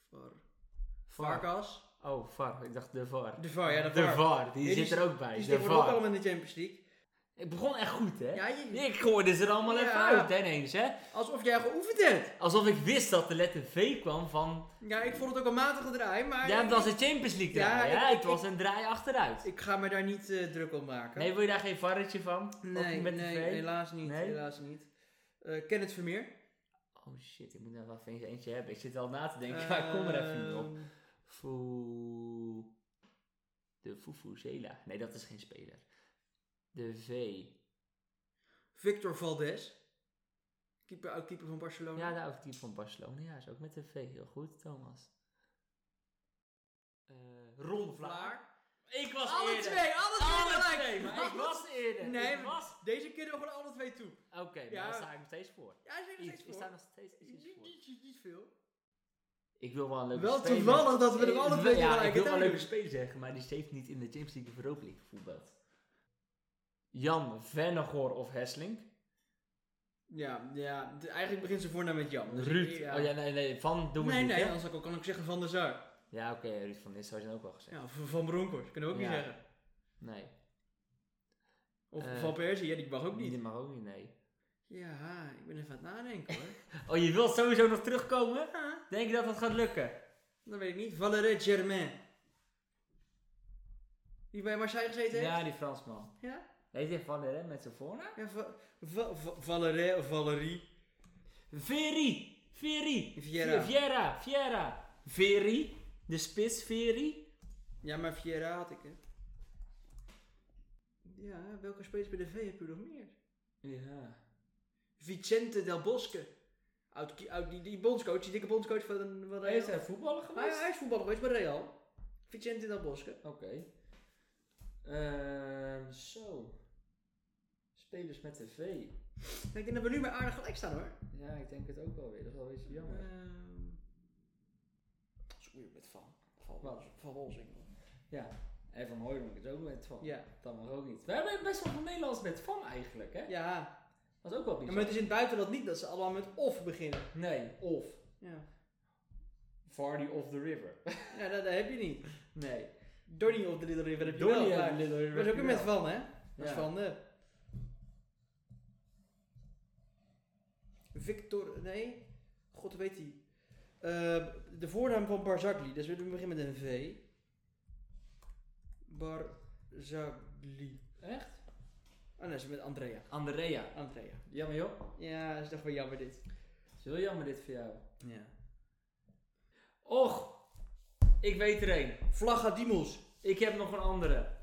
[SPEAKER 1] Var. Varkas.
[SPEAKER 2] Oh, VAR. Ik dacht de VAR.
[SPEAKER 1] De VAR, ja, de VAR.
[SPEAKER 2] De VAR, die
[SPEAKER 1] Ja,
[SPEAKER 2] zit er ook bij.
[SPEAKER 1] Die
[SPEAKER 2] de
[SPEAKER 1] zitten ook
[SPEAKER 2] VAR.
[SPEAKER 1] allemaal in de Champions League.
[SPEAKER 2] Ik begon echt goed, hè?
[SPEAKER 1] Ja, je-
[SPEAKER 2] Ik gooide ze er allemaal
[SPEAKER 1] Ja.
[SPEAKER 2] even uit, hè, ineens, hè?
[SPEAKER 1] Alsof jij geoefend hebt.
[SPEAKER 2] Alsof ik wist dat de letter V kwam van...
[SPEAKER 1] Ja, ik vond het ook een matige draai, maar...
[SPEAKER 2] Ja, het was een Champions League
[SPEAKER 1] Ja,
[SPEAKER 2] draai,
[SPEAKER 1] ik-
[SPEAKER 2] hè?
[SPEAKER 1] ik-
[SPEAKER 2] Het was een draai achteruit.
[SPEAKER 1] Ik ga me daar niet eh, druk om maken.
[SPEAKER 2] Nee, wil je daar geen varretje van? Ook
[SPEAKER 1] nee,
[SPEAKER 2] niet met
[SPEAKER 1] nee,
[SPEAKER 2] de V?
[SPEAKER 1] helaas niet.
[SPEAKER 2] Nee?
[SPEAKER 1] Helaas niet. Eh Kenneth Vermeer.
[SPEAKER 2] Oh shit, ik moet nou wel eens eentje hebben. Ik zit al na te denken, maar ik kom er even niet op.
[SPEAKER 1] Ehm,
[SPEAKER 2] Foe... De Fufuzela. Nee, dat is geen speler. De V.
[SPEAKER 1] Victor Valdes. Keeper, oud-keeper van Barcelona.
[SPEAKER 2] Ja, de oude type van Barcelona. Ja, is ook met de V. Heel goed, Thomas. Eh Ron Vlaar. Ik was
[SPEAKER 1] Alle
[SPEAKER 2] eerder.
[SPEAKER 1] twee, alle twee gelijk.
[SPEAKER 2] twee, maar ik was eerder.
[SPEAKER 1] Nee,
[SPEAKER 2] ik
[SPEAKER 1] maar-
[SPEAKER 2] was...
[SPEAKER 1] Deze keer doen we gewoon alle twee toe.
[SPEAKER 2] Oké, maar
[SPEAKER 1] Ja.
[SPEAKER 2] daar sta ik nog steeds voor.
[SPEAKER 1] Ja, ze hebben
[SPEAKER 2] Iets,
[SPEAKER 1] steeds
[SPEAKER 2] ik
[SPEAKER 1] voor.
[SPEAKER 2] sta nog steeds
[SPEAKER 1] Niet,
[SPEAKER 2] iets voor.
[SPEAKER 1] niet, niet, niet veel.
[SPEAKER 2] Ik wil wel een leuke
[SPEAKER 1] Wel
[SPEAKER 2] speler.
[SPEAKER 1] toevallig dat we er
[SPEAKER 2] Eh,
[SPEAKER 1] alle
[SPEAKER 2] wel-
[SPEAKER 1] twee
[SPEAKER 2] Ja, ik
[SPEAKER 1] tegelijkertijd
[SPEAKER 2] wil wel een leuke
[SPEAKER 1] doen.
[SPEAKER 2] speler zeggen, maar die heeft niet in de Champions League of Europa League gevoetbald. Jan Vennegoor of Hessling.
[SPEAKER 1] Ja, ja. de- eigenlijk begint zijn voornaam met Jan. Dus
[SPEAKER 2] Ruud.
[SPEAKER 1] Ja.
[SPEAKER 2] Oh ja, nee, nee. Van doen we
[SPEAKER 1] nee,
[SPEAKER 2] niet,
[SPEAKER 1] nee,
[SPEAKER 2] hè?
[SPEAKER 1] anders kan ik- kan ik zeggen Van der Zaar.
[SPEAKER 2] Ja, oké. Ruud van Nistelrooy zijn ook al gezegd.
[SPEAKER 1] Ja, of Van Bronckhorst, kunnen we ook
[SPEAKER 2] Ja.
[SPEAKER 1] niet zeggen.
[SPEAKER 2] Nee.
[SPEAKER 1] Of
[SPEAKER 2] Eh,
[SPEAKER 1] Van Persie, ja, die mag ook niet.
[SPEAKER 2] Die mag ook niet, nee.
[SPEAKER 1] Ja, ik ben even aan het nadenken hoor. [laughs]
[SPEAKER 2] Oh, je wilt sowieso nog terugkomen?
[SPEAKER 1] ja,
[SPEAKER 2] Denk je dat dat gaat lukken?
[SPEAKER 1] dat weet ik niet. Valérie Germain. Die bij Marseille gezeten heeft?
[SPEAKER 2] Ja, die Fransman.
[SPEAKER 1] Ja?
[SPEAKER 2] Heet hij Van der Ren met zijn voornaam?
[SPEAKER 1] Ja, Va- Va- Va- Valérie of Valérie.
[SPEAKER 2] Veri! Veri!
[SPEAKER 1] Vieira.
[SPEAKER 2] Viera! Viera! Veri! De spits Veri?
[SPEAKER 1] Ja, maar Vieira had ik hè. Ja, welke spelers bij de V heb je nog meer?
[SPEAKER 2] Ja.
[SPEAKER 1] Vicente del Bosque. Oud, ki- oud- die, die bondscoach, die dikke bondscoach van, van Real.
[SPEAKER 2] Is hij voetballer
[SPEAKER 1] Hij,
[SPEAKER 2] geweest?
[SPEAKER 1] hij is voetballer geweest bij Real. Vicente del Bosque.
[SPEAKER 2] Oké. Ehm, Zo. Spelers met de V.
[SPEAKER 1] Ik denk dat we nu maar aardig gelijk staan hoor.
[SPEAKER 2] Ja, ik denk het ook wel weer. Dat is wel een beetje jammer.
[SPEAKER 1] Ehm, Dat is weird met Van. Van,
[SPEAKER 2] Wat?
[SPEAKER 1] van Wolzing.
[SPEAKER 2] Ja. En Van Hooydonk is ook met Van.
[SPEAKER 1] Ja.
[SPEAKER 2] Dat mag ook niet. We hebben best wel veel Nederlands met Van eigenlijk, hè?
[SPEAKER 1] Ja.
[SPEAKER 2] Dat is ook wel
[SPEAKER 1] ja,
[SPEAKER 2] bizar.
[SPEAKER 1] maar het is in het buitenland niet dat ze allemaal met of beginnen.
[SPEAKER 2] Nee, of
[SPEAKER 1] Ja,
[SPEAKER 2] Vardy of the River.
[SPEAKER 1] ja dat, dat heb je niet.
[SPEAKER 2] Nee.
[SPEAKER 1] Donny of de Little River heb je wel. maar-
[SPEAKER 2] Little River.
[SPEAKER 1] Dat is ook weer met
[SPEAKER 2] wel.
[SPEAKER 1] Van, hè? Dat is
[SPEAKER 2] Ja.
[SPEAKER 1] Van eh. de... Victor... Nee. God weet hij. Eh, de voornaam van Barzagli. Dus we beginnen met een V. Barzagli.
[SPEAKER 2] Echt?
[SPEAKER 1] Ah nee, dat is met Andrea.
[SPEAKER 2] Andrea.
[SPEAKER 1] Andrea.
[SPEAKER 2] Jammer joh.
[SPEAKER 1] Ja, dat is toch wel jammer dit.
[SPEAKER 2] Het is heel jammer dit voor jou.
[SPEAKER 1] Ja.
[SPEAKER 2] Och, ik weet er een.
[SPEAKER 1] Vlagadimos.
[SPEAKER 2] Ik heb nog een andere.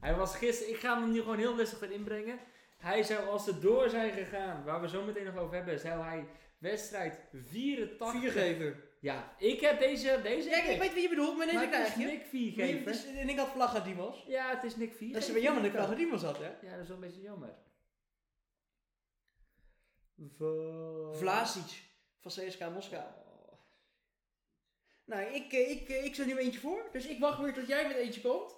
[SPEAKER 2] Hij was gisteren, ik ga hem nu gewoon heel rustig erin brengen. Hij zou, als ze door zijn gegaan, waar we zo meteen nog over hebben, zou hij wedstrijd 84...
[SPEAKER 1] Viergever.
[SPEAKER 2] Ja, ik heb deze, deze
[SPEAKER 1] Ja, ik
[SPEAKER 2] heb
[SPEAKER 1] weet wat je bedoelt, maar deze
[SPEAKER 2] Maar het
[SPEAKER 1] krijg
[SPEAKER 2] is
[SPEAKER 1] je.
[SPEAKER 2] Nick Viergever.
[SPEAKER 1] Dus- En ik had Vlagadimos.
[SPEAKER 2] Ja, het is Nick Viergever.
[SPEAKER 1] Dat is wel jammer dat ik Vlagadimos had, hè?
[SPEAKER 2] Ja, dat is wel een beetje jammer.
[SPEAKER 1] Vlasic van CSKA Moskou. Nou, ik, eh, ik, eh, ik zet nu eentje voor. Dus ik wacht weer tot jij met eentje komt.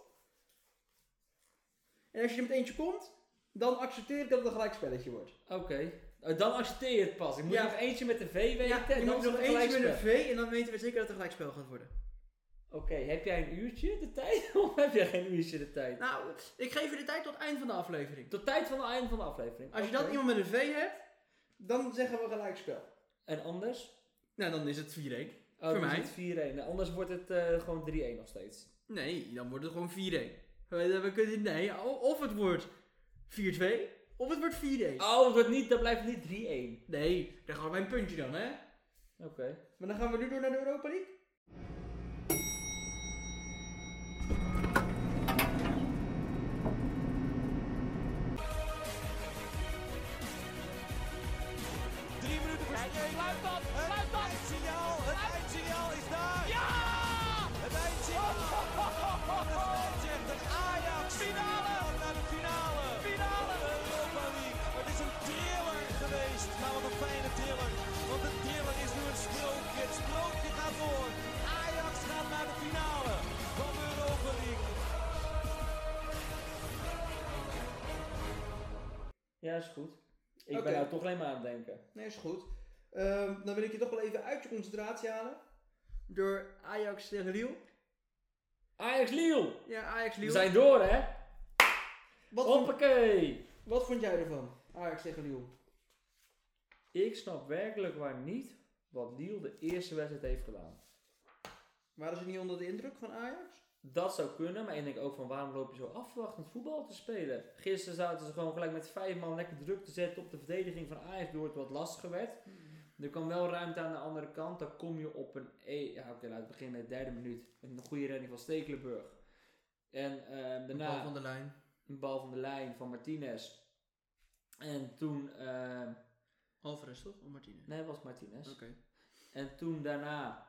[SPEAKER 1] En als je er met eentje komt, dan accepteer ik dat het een gelijk spelletje wordt.
[SPEAKER 2] Oké. Oh, dan accepteer je het pas. Ik moet
[SPEAKER 1] Ja.
[SPEAKER 2] nog eentje met de V weten.
[SPEAKER 1] je
[SPEAKER 2] en eh, dan
[SPEAKER 1] moet nog
[SPEAKER 2] is het
[SPEAKER 1] eentje met
[SPEAKER 2] gelijkspel.
[SPEAKER 1] een V en dan weten we zeker dat het een gelijk spel gaat worden.
[SPEAKER 2] Oké, heb jij een uurtje de tijd? [laughs] of heb jij geen uurtje de tijd?
[SPEAKER 1] Nou, ik geef je de tijd tot het eind van de aflevering.
[SPEAKER 2] Tot tijd van het einde van de aflevering.
[SPEAKER 1] Als je
[SPEAKER 2] Oké.
[SPEAKER 1] dan iemand met een V hebt, dan zeggen we gelijk spel.
[SPEAKER 2] En anders?
[SPEAKER 1] Nou, dan is het 4-1.
[SPEAKER 2] Oh,
[SPEAKER 1] Voor
[SPEAKER 2] dan
[SPEAKER 1] mij.
[SPEAKER 2] is het 4-1. Nou, Anders wordt het eh, gewoon 3-1 nog steeds.
[SPEAKER 1] Nee, dan wordt het gewoon 4-1. We we kunnen, nee, o- of het wordt 4-2, of het wordt 4-1.
[SPEAKER 2] Oh, dat, wordt niet, dat blijft niet 3-1.
[SPEAKER 1] Nee, daar gaan we een puntje dan, hè?
[SPEAKER 2] Oké.
[SPEAKER 1] Maar dan gaan we nu door naar de Europa League.
[SPEAKER 4] Drie minuten voor Luidt dat, luidt dat. Het signaal, het eindsignaal is daar. Ja! Oh, Het eindsignaal. Van de scheidsrechter Ajax. Finale. Naar de finale. Finale. De Europa League. Het is een thriller geweest. Nou, wat een fijne thriller. Want de thriller is nu een sprookje. Het sprookje gaat door. Ajax gaat naar de finale van de Europa League.
[SPEAKER 2] Ja, is goed. Ik
[SPEAKER 1] Oké.
[SPEAKER 2] ben nou toch alleen maar aan het denken.
[SPEAKER 1] Nee, is goed. Ehm, dan wil ik je toch wel even uit je concentratie halen. Door Ajax tegen Lille.
[SPEAKER 2] Ajax Liel!
[SPEAKER 1] Ja, Ajax
[SPEAKER 2] We
[SPEAKER 1] Lille.
[SPEAKER 2] zijn door, hè?
[SPEAKER 1] Wat, vond,
[SPEAKER 2] Hoppakee!
[SPEAKER 1] wat vond jij ervan? Ajax tegen Lille.
[SPEAKER 2] Ik snap werkelijk waar niet wat Liel de eerste wedstrijd heeft gedaan.
[SPEAKER 1] Waren ze niet onder de indruk van Ajax?
[SPEAKER 2] Dat zou kunnen, maar ik denk ook van waarom loop je zo afwachtend voetbal te spelen? Gisteren zaten ze gewoon gelijk met vijf man lekker druk te zetten op de verdediging van Ajax, door het wat lastiger werd. Er kwam wel ruimte aan de andere kant, dan kom je op een... E ja, oké, laat het beginnen met de derde minuut. Een goede redding van Stekelenburg. En ehm, daarna...
[SPEAKER 1] de lijn.
[SPEAKER 2] een bal van de lijn van Martinez. En toen, eh,
[SPEAKER 1] Alvarez toch? Of Martinez?
[SPEAKER 2] nee, het was Martinez.
[SPEAKER 1] Oké.
[SPEAKER 2] En toen daarna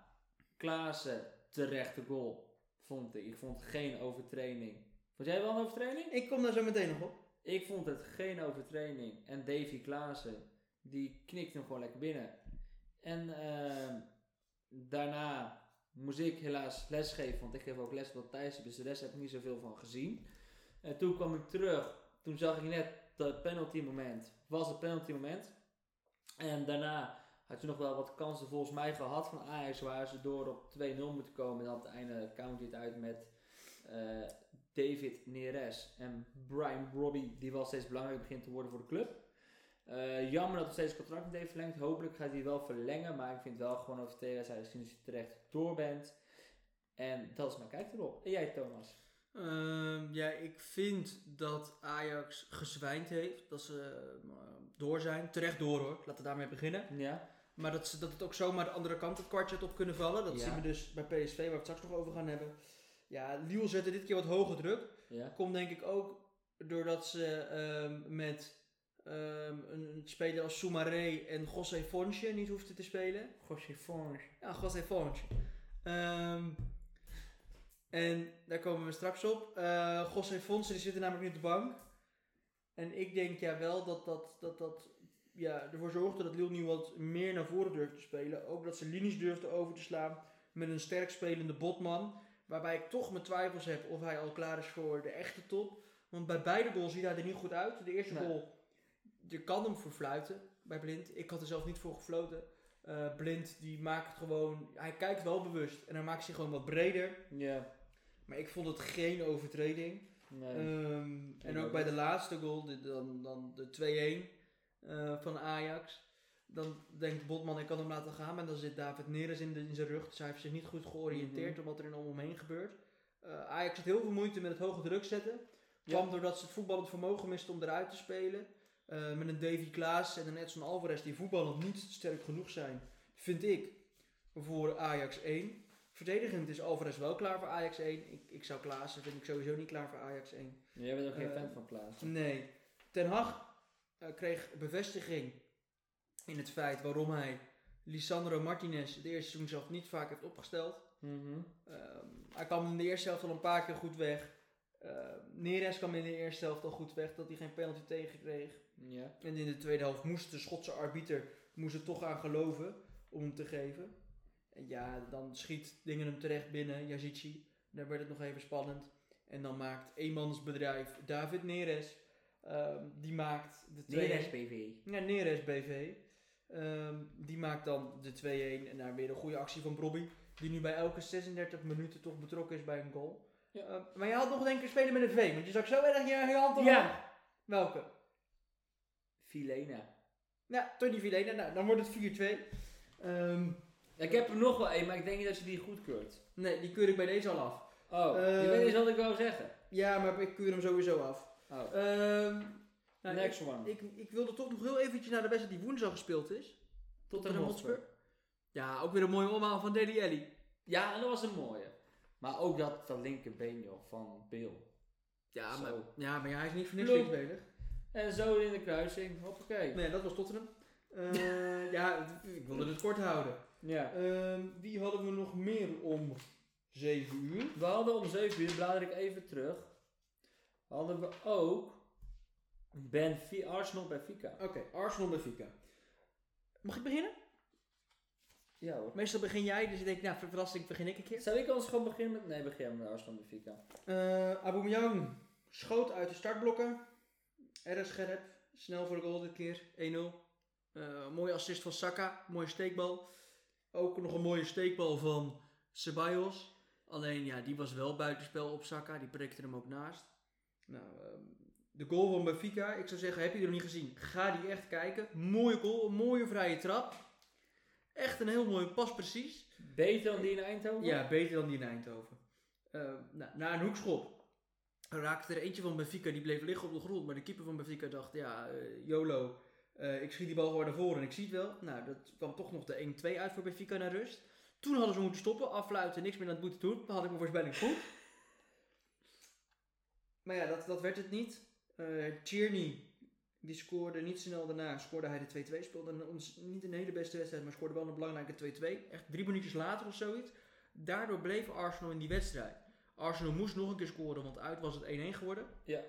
[SPEAKER 2] Klaassen terechte goal. Vond ik. Ik vond geen overtraining. Vond jij wel een overtraining?
[SPEAKER 1] Ik kom daar zo meteen nog op.
[SPEAKER 2] Ik vond het geen overtraining. En Davy Klaassen, die knikte hem gewoon lekker binnen. En ehm, daarna moest ik helaas lesgeven, want ik geef ook les op Thijs, dus de rest heb ik niet zoveel van gezien. En toen kwam ik terug, toen zag ik net dat penalty moment, was het penalty moment. En daarna had je nog wel wat kansen volgens mij gehad van Ajax, waar ze door op 2-0 moeten komen. En aan het einde count dit uit met eh, David Neres en Brian Robbie, die wel steeds belangrijk begint te worden voor de club. Eh, jammer dat hij steeds het contract niet heeft verlengd. Hopelijk gaat hij wel verlengen. Maar ik vind wel gewoon over tegen als hij sinds je terecht door bent. En dat is mijn kijk erop. En jij Thomas?
[SPEAKER 1] Ehm, ja, ik vind dat Ajax gezwijnd heeft. Dat ze eh, door zijn. Terecht door hoor. Laten we daarmee beginnen.
[SPEAKER 2] Ja?
[SPEAKER 1] Maar dat, ze, dat het ook zomaar de andere kant het kwartje had op kunnen vallen. Dat
[SPEAKER 2] Ja.
[SPEAKER 1] zien we dus bij PSV, waar we het straks nog over gaan hebben. Ja, Lille zette dit keer wat hoger druk.
[SPEAKER 2] Ja?
[SPEAKER 1] Komt denk ik ook doordat ze ehm, met ehm, een speler als Soumaré en José Fonsje niet hoefden te spelen.
[SPEAKER 2] José Fons.
[SPEAKER 1] Ja, José Fonsje. Ehm, en daar komen we straks op. Eh José Fonsje die zit er namelijk nu op de bank. En ik denk ja wel dat dat, dat, dat ja, ervoor zorgde dat Lille nu wat meer naar voren durfde te spelen. Ook dat ze linies durfden over te slaan met een sterk spelende botman. Waarbij ik toch mijn twijfels heb of hij al klaar is voor de echte top. Want bij beide goals ziet hij er niet goed uit. De eerste
[SPEAKER 2] Nee.
[SPEAKER 1] goal, je kan hem voor fluiten bij Blind. Ik had er zelf niet voor gefloten. Eh, Blind die maakt het gewoon, hij kijkt wel bewust en hij maakt zich gewoon wat breder.
[SPEAKER 2] Ja.
[SPEAKER 1] Maar ik vond het geen overtreding.
[SPEAKER 2] Nee.
[SPEAKER 1] Ehm, en
[SPEAKER 2] ook
[SPEAKER 1] ook bij de laatste goal, de, dan, dan de 2-1 eh, van Ajax. Dan denkt Botman, ik kan hem laten gaan. Maar dan zit David Neres in, de- in zijn rug. Dus hij heeft zich niet goed georiënteerd
[SPEAKER 2] Mhm.
[SPEAKER 1] op wat er in om hem heen gebeurt. Eh, Ajax had heel veel moeite met het hoge druk zetten.
[SPEAKER 2] Ja.
[SPEAKER 1] Kwam doordat ze het voetballend vermogen misten om eruit te spelen. Eh, met een Davy Klaas en een Edson Alvarez die voetballend niet sterk genoeg zijn, vind ik, voor Ajax 1. Verdedigend is Alvarez wel klaar voor Ajax 1. Ik, ik zou Klaassen, vind ik sowieso niet klaar voor Ajax 1.
[SPEAKER 2] Jij bent ook geen
[SPEAKER 1] eh,
[SPEAKER 2] fan van Klaas.
[SPEAKER 1] Nee. Ten Hag eh, kreeg bevestiging in het feit waarom hij Lisandro Martinez het eerste seizoen zelf niet vaak heeft opgesteld.
[SPEAKER 2] Mhm.
[SPEAKER 1] Ehm, hij kwam in de eerste helft al een paar keer goed weg. Ehm, Neres kwam in de eerste helft al goed weg, dat hij geen penalty tegenkreeg.
[SPEAKER 2] Ja.
[SPEAKER 1] En in de tweede helft moest de Schotse arbiter moest er toch aan geloven om hem te geven. En ja, dan schiet dingen hem terecht binnen, Yazici. Daar werd het nog even spannend. En dan maakt eenmansbedrijf David Neres. ehm, die maakt de 2
[SPEAKER 2] Neres BV.
[SPEAKER 1] Ja, Neres BV. Ehm, die maakt dan de 2-1 en daar weer een goede actie van Bobby. Die nu bij elke 36 minuten toch betrokken is bij een goal.
[SPEAKER 2] Ja.
[SPEAKER 1] Ehm, maar je had nog denk ik spelen met een V, want je zag zo erg je je hand omhoog.
[SPEAKER 2] Ja!
[SPEAKER 1] Welke?
[SPEAKER 2] Filena.
[SPEAKER 1] Nou, Tony Villena, nou, dan wordt het 4-2. Ehm,
[SPEAKER 2] Ik heb er nog wel één, maar ik denk niet dat je die goedkeurt.
[SPEAKER 1] nee, die keur ik bij deze al af.
[SPEAKER 2] Oh, je
[SPEAKER 1] Eh,
[SPEAKER 2] weet eens wat ik wou zeggen.
[SPEAKER 1] Ja, maar ik keur hem sowieso af.
[SPEAKER 2] Oh,
[SPEAKER 1] Ehm, nou,
[SPEAKER 2] next
[SPEAKER 1] ik,
[SPEAKER 2] one.
[SPEAKER 1] ik, ik wilde toch nog heel eventjes naar de wedstrijd die woensdag gespeeld is.
[SPEAKER 2] Tot een
[SPEAKER 1] Hotspur. Ja, ook weer een mooie omhaal van Deli Alli.
[SPEAKER 2] Ja, en dat was een mooie. Maar ook dat, dat linkerbeen joh, van Bill.
[SPEAKER 1] Ja,
[SPEAKER 2] Zo.
[SPEAKER 1] maar, ja, maar ja, hij is niet voor niks
[SPEAKER 2] Loop.
[SPEAKER 1] linksbelig.
[SPEAKER 2] En zo in de kruising, hoppakee.
[SPEAKER 1] Nee, dat was Tottenham. Eh, ja, het- ik wilde het kort houden.
[SPEAKER 2] Ja.
[SPEAKER 1] Ehm, wie hadden we nog meer om 7 uur?
[SPEAKER 2] We hadden om 7 uur, blader ik even terug, hadden we ook Benfi Arsenal Benfica.
[SPEAKER 1] Oké, Arsenal Benfica. Mag ik beginnen?
[SPEAKER 2] Ja hoor.
[SPEAKER 1] Meestal begin jij, dus ik denk, nou, ver- verrassing begin ik een keer.
[SPEAKER 2] Zou ik anders gewoon beginnen met... Nee, begin met Arsenal Benfica.
[SPEAKER 1] Eh Aubameyang schoot uit de startblokken. Erg scherp. Snel voor de goal dit keer. 1-0. Eh, mooie assist van Saka. Mooie steekbal. Ook nog een mooie steekbal van Ceballos. Alleen ja, die was wel buitenspel op Saka. Die prikte hem ook naast. Nou, ehm, de goal van Benfica. Ik zou zeggen, heb je die nog niet gezien? Ga die echt kijken. Mooie goal. Een mooie vrije trap. Echt een heel mooie pas precies.
[SPEAKER 2] Beter dan die in Eindhoven?
[SPEAKER 1] Ja, beter dan die in Eindhoven. Eh, nou, na een hoekschop raakte er eentje van Benfica, die bleef liggen op de grond. Maar de keeper van Benfica dacht, ja, eh, YOLO, eh, ik schiet die bal gewoon naar voren en ik zie het wel. Nou, dat kwam toch nog de 1-2 uit voor Benfica naar rust. Toen hadden ze moeten stoppen, afluiten, niks meer aan het moeten doen. Dan had ik mijn voorspelling goed. [laughs] maar ja, dat, dat werd het niet. Eh Tierney, die scoorde niet snel daarna, scoorde hij de 2-2. Speelde een, ons, niet een hele beste wedstrijd, maar scoorde wel een belangrijke 2-2. Echt drie minuutjes later of zoiets. Daardoor bleef Arsenal in die wedstrijd. Arsenal moest nog een keer scoren, want uit was het 1-1 geworden.
[SPEAKER 2] Ja.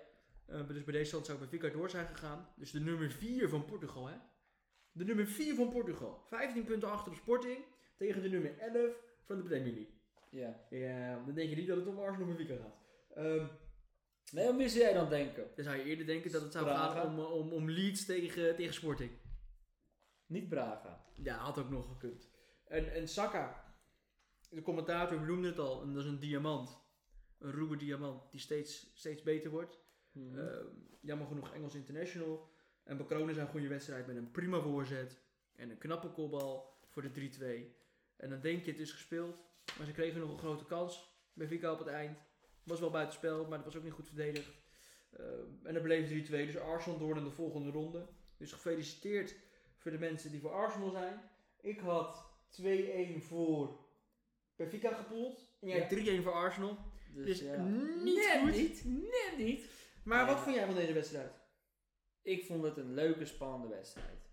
[SPEAKER 1] Eh, dus bij deze stand zou Benfica door zijn gegaan. Dus de nummer 4 van Portugal, hè? De nummer 4 van Portugal. 15 punten achter op Sporting tegen de nummer 11 van de Premier League.
[SPEAKER 2] Ja.
[SPEAKER 1] Ja, dan denk je niet dat het om Arsenal Benfica gaat. Ehm,
[SPEAKER 2] Nee, wat moest jij dan denken?
[SPEAKER 1] dan zou je eerder denken dat het zou
[SPEAKER 2] Braga.
[SPEAKER 1] gaan om, eh, om, om Leeds tegen, tegen Sporting.
[SPEAKER 2] Niet Braga.
[SPEAKER 1] Ja, had ook nog gekund. En, en Saka, de commentator benoemde het al, en dat is een diamant. Een ruwe diamant die steeds, steeds beter wordt. Ehm, jammer genoeg Engels International. En bekronen zijn goede wedstrijd met een prima voorzet. En een knappe kopbal voor de 3-2. En dan denk je het is gespeeld. Maar ze kregen nog een grote kans. Benfica op het eind. Was wel buitenspel, maar dat was ook niet goed verdedigd. Ehm, en dat bleef 3-2. Dus Arsenal door naar de volgende ronde. Dus gefeliciteerd voor de mensen die voor Arsenal zijn. Ik had 2-1 voor Benfica gepoeld. En jij
[SPEAKER 2] Ja.
[SPEAKER 1] 3-1 voor Arsenal.
[SPEAKER 2] dus,
[SPEAKER 1] Dus
[SPEAKER 2] ja.
[SPEAKER 1] niet
[SPEAKER 2] net
[SPEAKER 1] goed.
[SPEAKER 2] niet, net niet.
[SPEAKER 1] Maar wat
[SPEAKER 2] Ja.
[SPEAKER 1] vond jij van deze wedstrijd?
[SPEAKER 2] Ik vond het een leuke, spannende wedstrijd.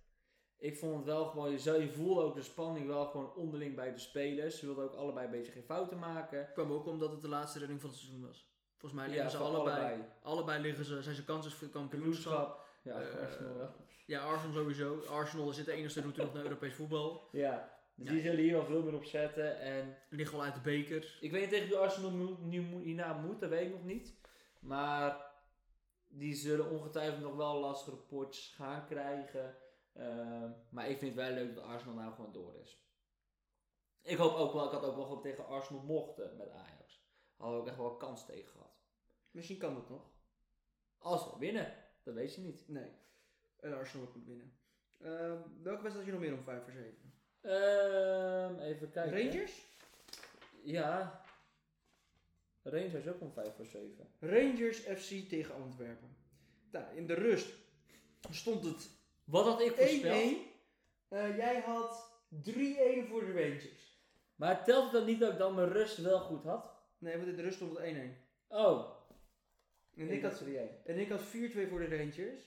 [SPEAKER 2] Ik vond het wel gewoon, je, zou- je voelde ook de spanning wel gewoon onderling bij de spelers. Ze wilden ook allebei een beetje geen fouten maken.
[SPEAKER 1] kwam ook omdat het de laatste redding van het seizoen was. Volgens mij
[SPEAKER 2] Ja,
[SPEAKER 1] liggen ze
[SPEAKER 2] van
[SPEAKER 1] allebei. Allebei,
[SPEAKER 2] allebei.
[SPEAKER 1] liggen ze, zijn ze kansen voor kampioenschap.
[SPEAKER 2] Kampioenschap. Ja,
[SPEAKER 1] Eh,
[SPEAKER 2] Arsenal wel.
[SPEAKER 1] Ja, Arsenal sowieso. Arsenal zit de enige route nog naar Europees voetbal.
[SPEAKER 2] Ja, dus
[SPEAKER 1] Ja.
[SPEAKER 2] die zullen hier wel veel meer op zetten. En
[SPEAKER 1] Liggen al uit de beker.
[SPEAKER 2] ik weet niet tegen wie Arsenal moet- nu moet- hierna moet, dat weet ik nog niet. Maar die zullen ongetwijfeld nog wel lastige potjes gaan krijgen. Ehm, maar ik vind het wel leuk dat Arsenal nou gewoon door is. Ik hoop ook wel, ik had ook wel gehoopt tegen Arsenal mochten met Ajax. Hadden we ook echt wel kans tegen gehad.
[SPEAKER 1] Misschien kan dat nog.
[SPEAKER 2] Als we winnen, dat weet je niet.
[SPEAKER 1] Nee. En Arsenal ook moet winnen. Ehm, welke wedstrijd had je nog meer om 5 voor 7?
[SPEAKER 2] Ehm, even kijken.
[SPEAKER 1] Rangers?
[SPEAKER 2] Ja. Rangers ook om 5 voor 7.
[SPEAKER 1] Rangers FC tegen Antwerpen. Nou, in de rust stond het 1-1.
[SPEAKER 2] Wat had ik voorspeld?
[SPEAKER 1] Eh, jij had 3-1 voor de Rangers.
[SPEAKER 2] Maar telt het dan niet dat ik dan mijn rust wel goed had?
[SPEAKER 1] Nee, want in de rust stond het 1-1.
[SPEAKER 2] Oh.
[SPEAKER 1] En ik had
[SPEAKER 2] 3
[SPEAKER 1] En ik had 4-2 voor de Rangers.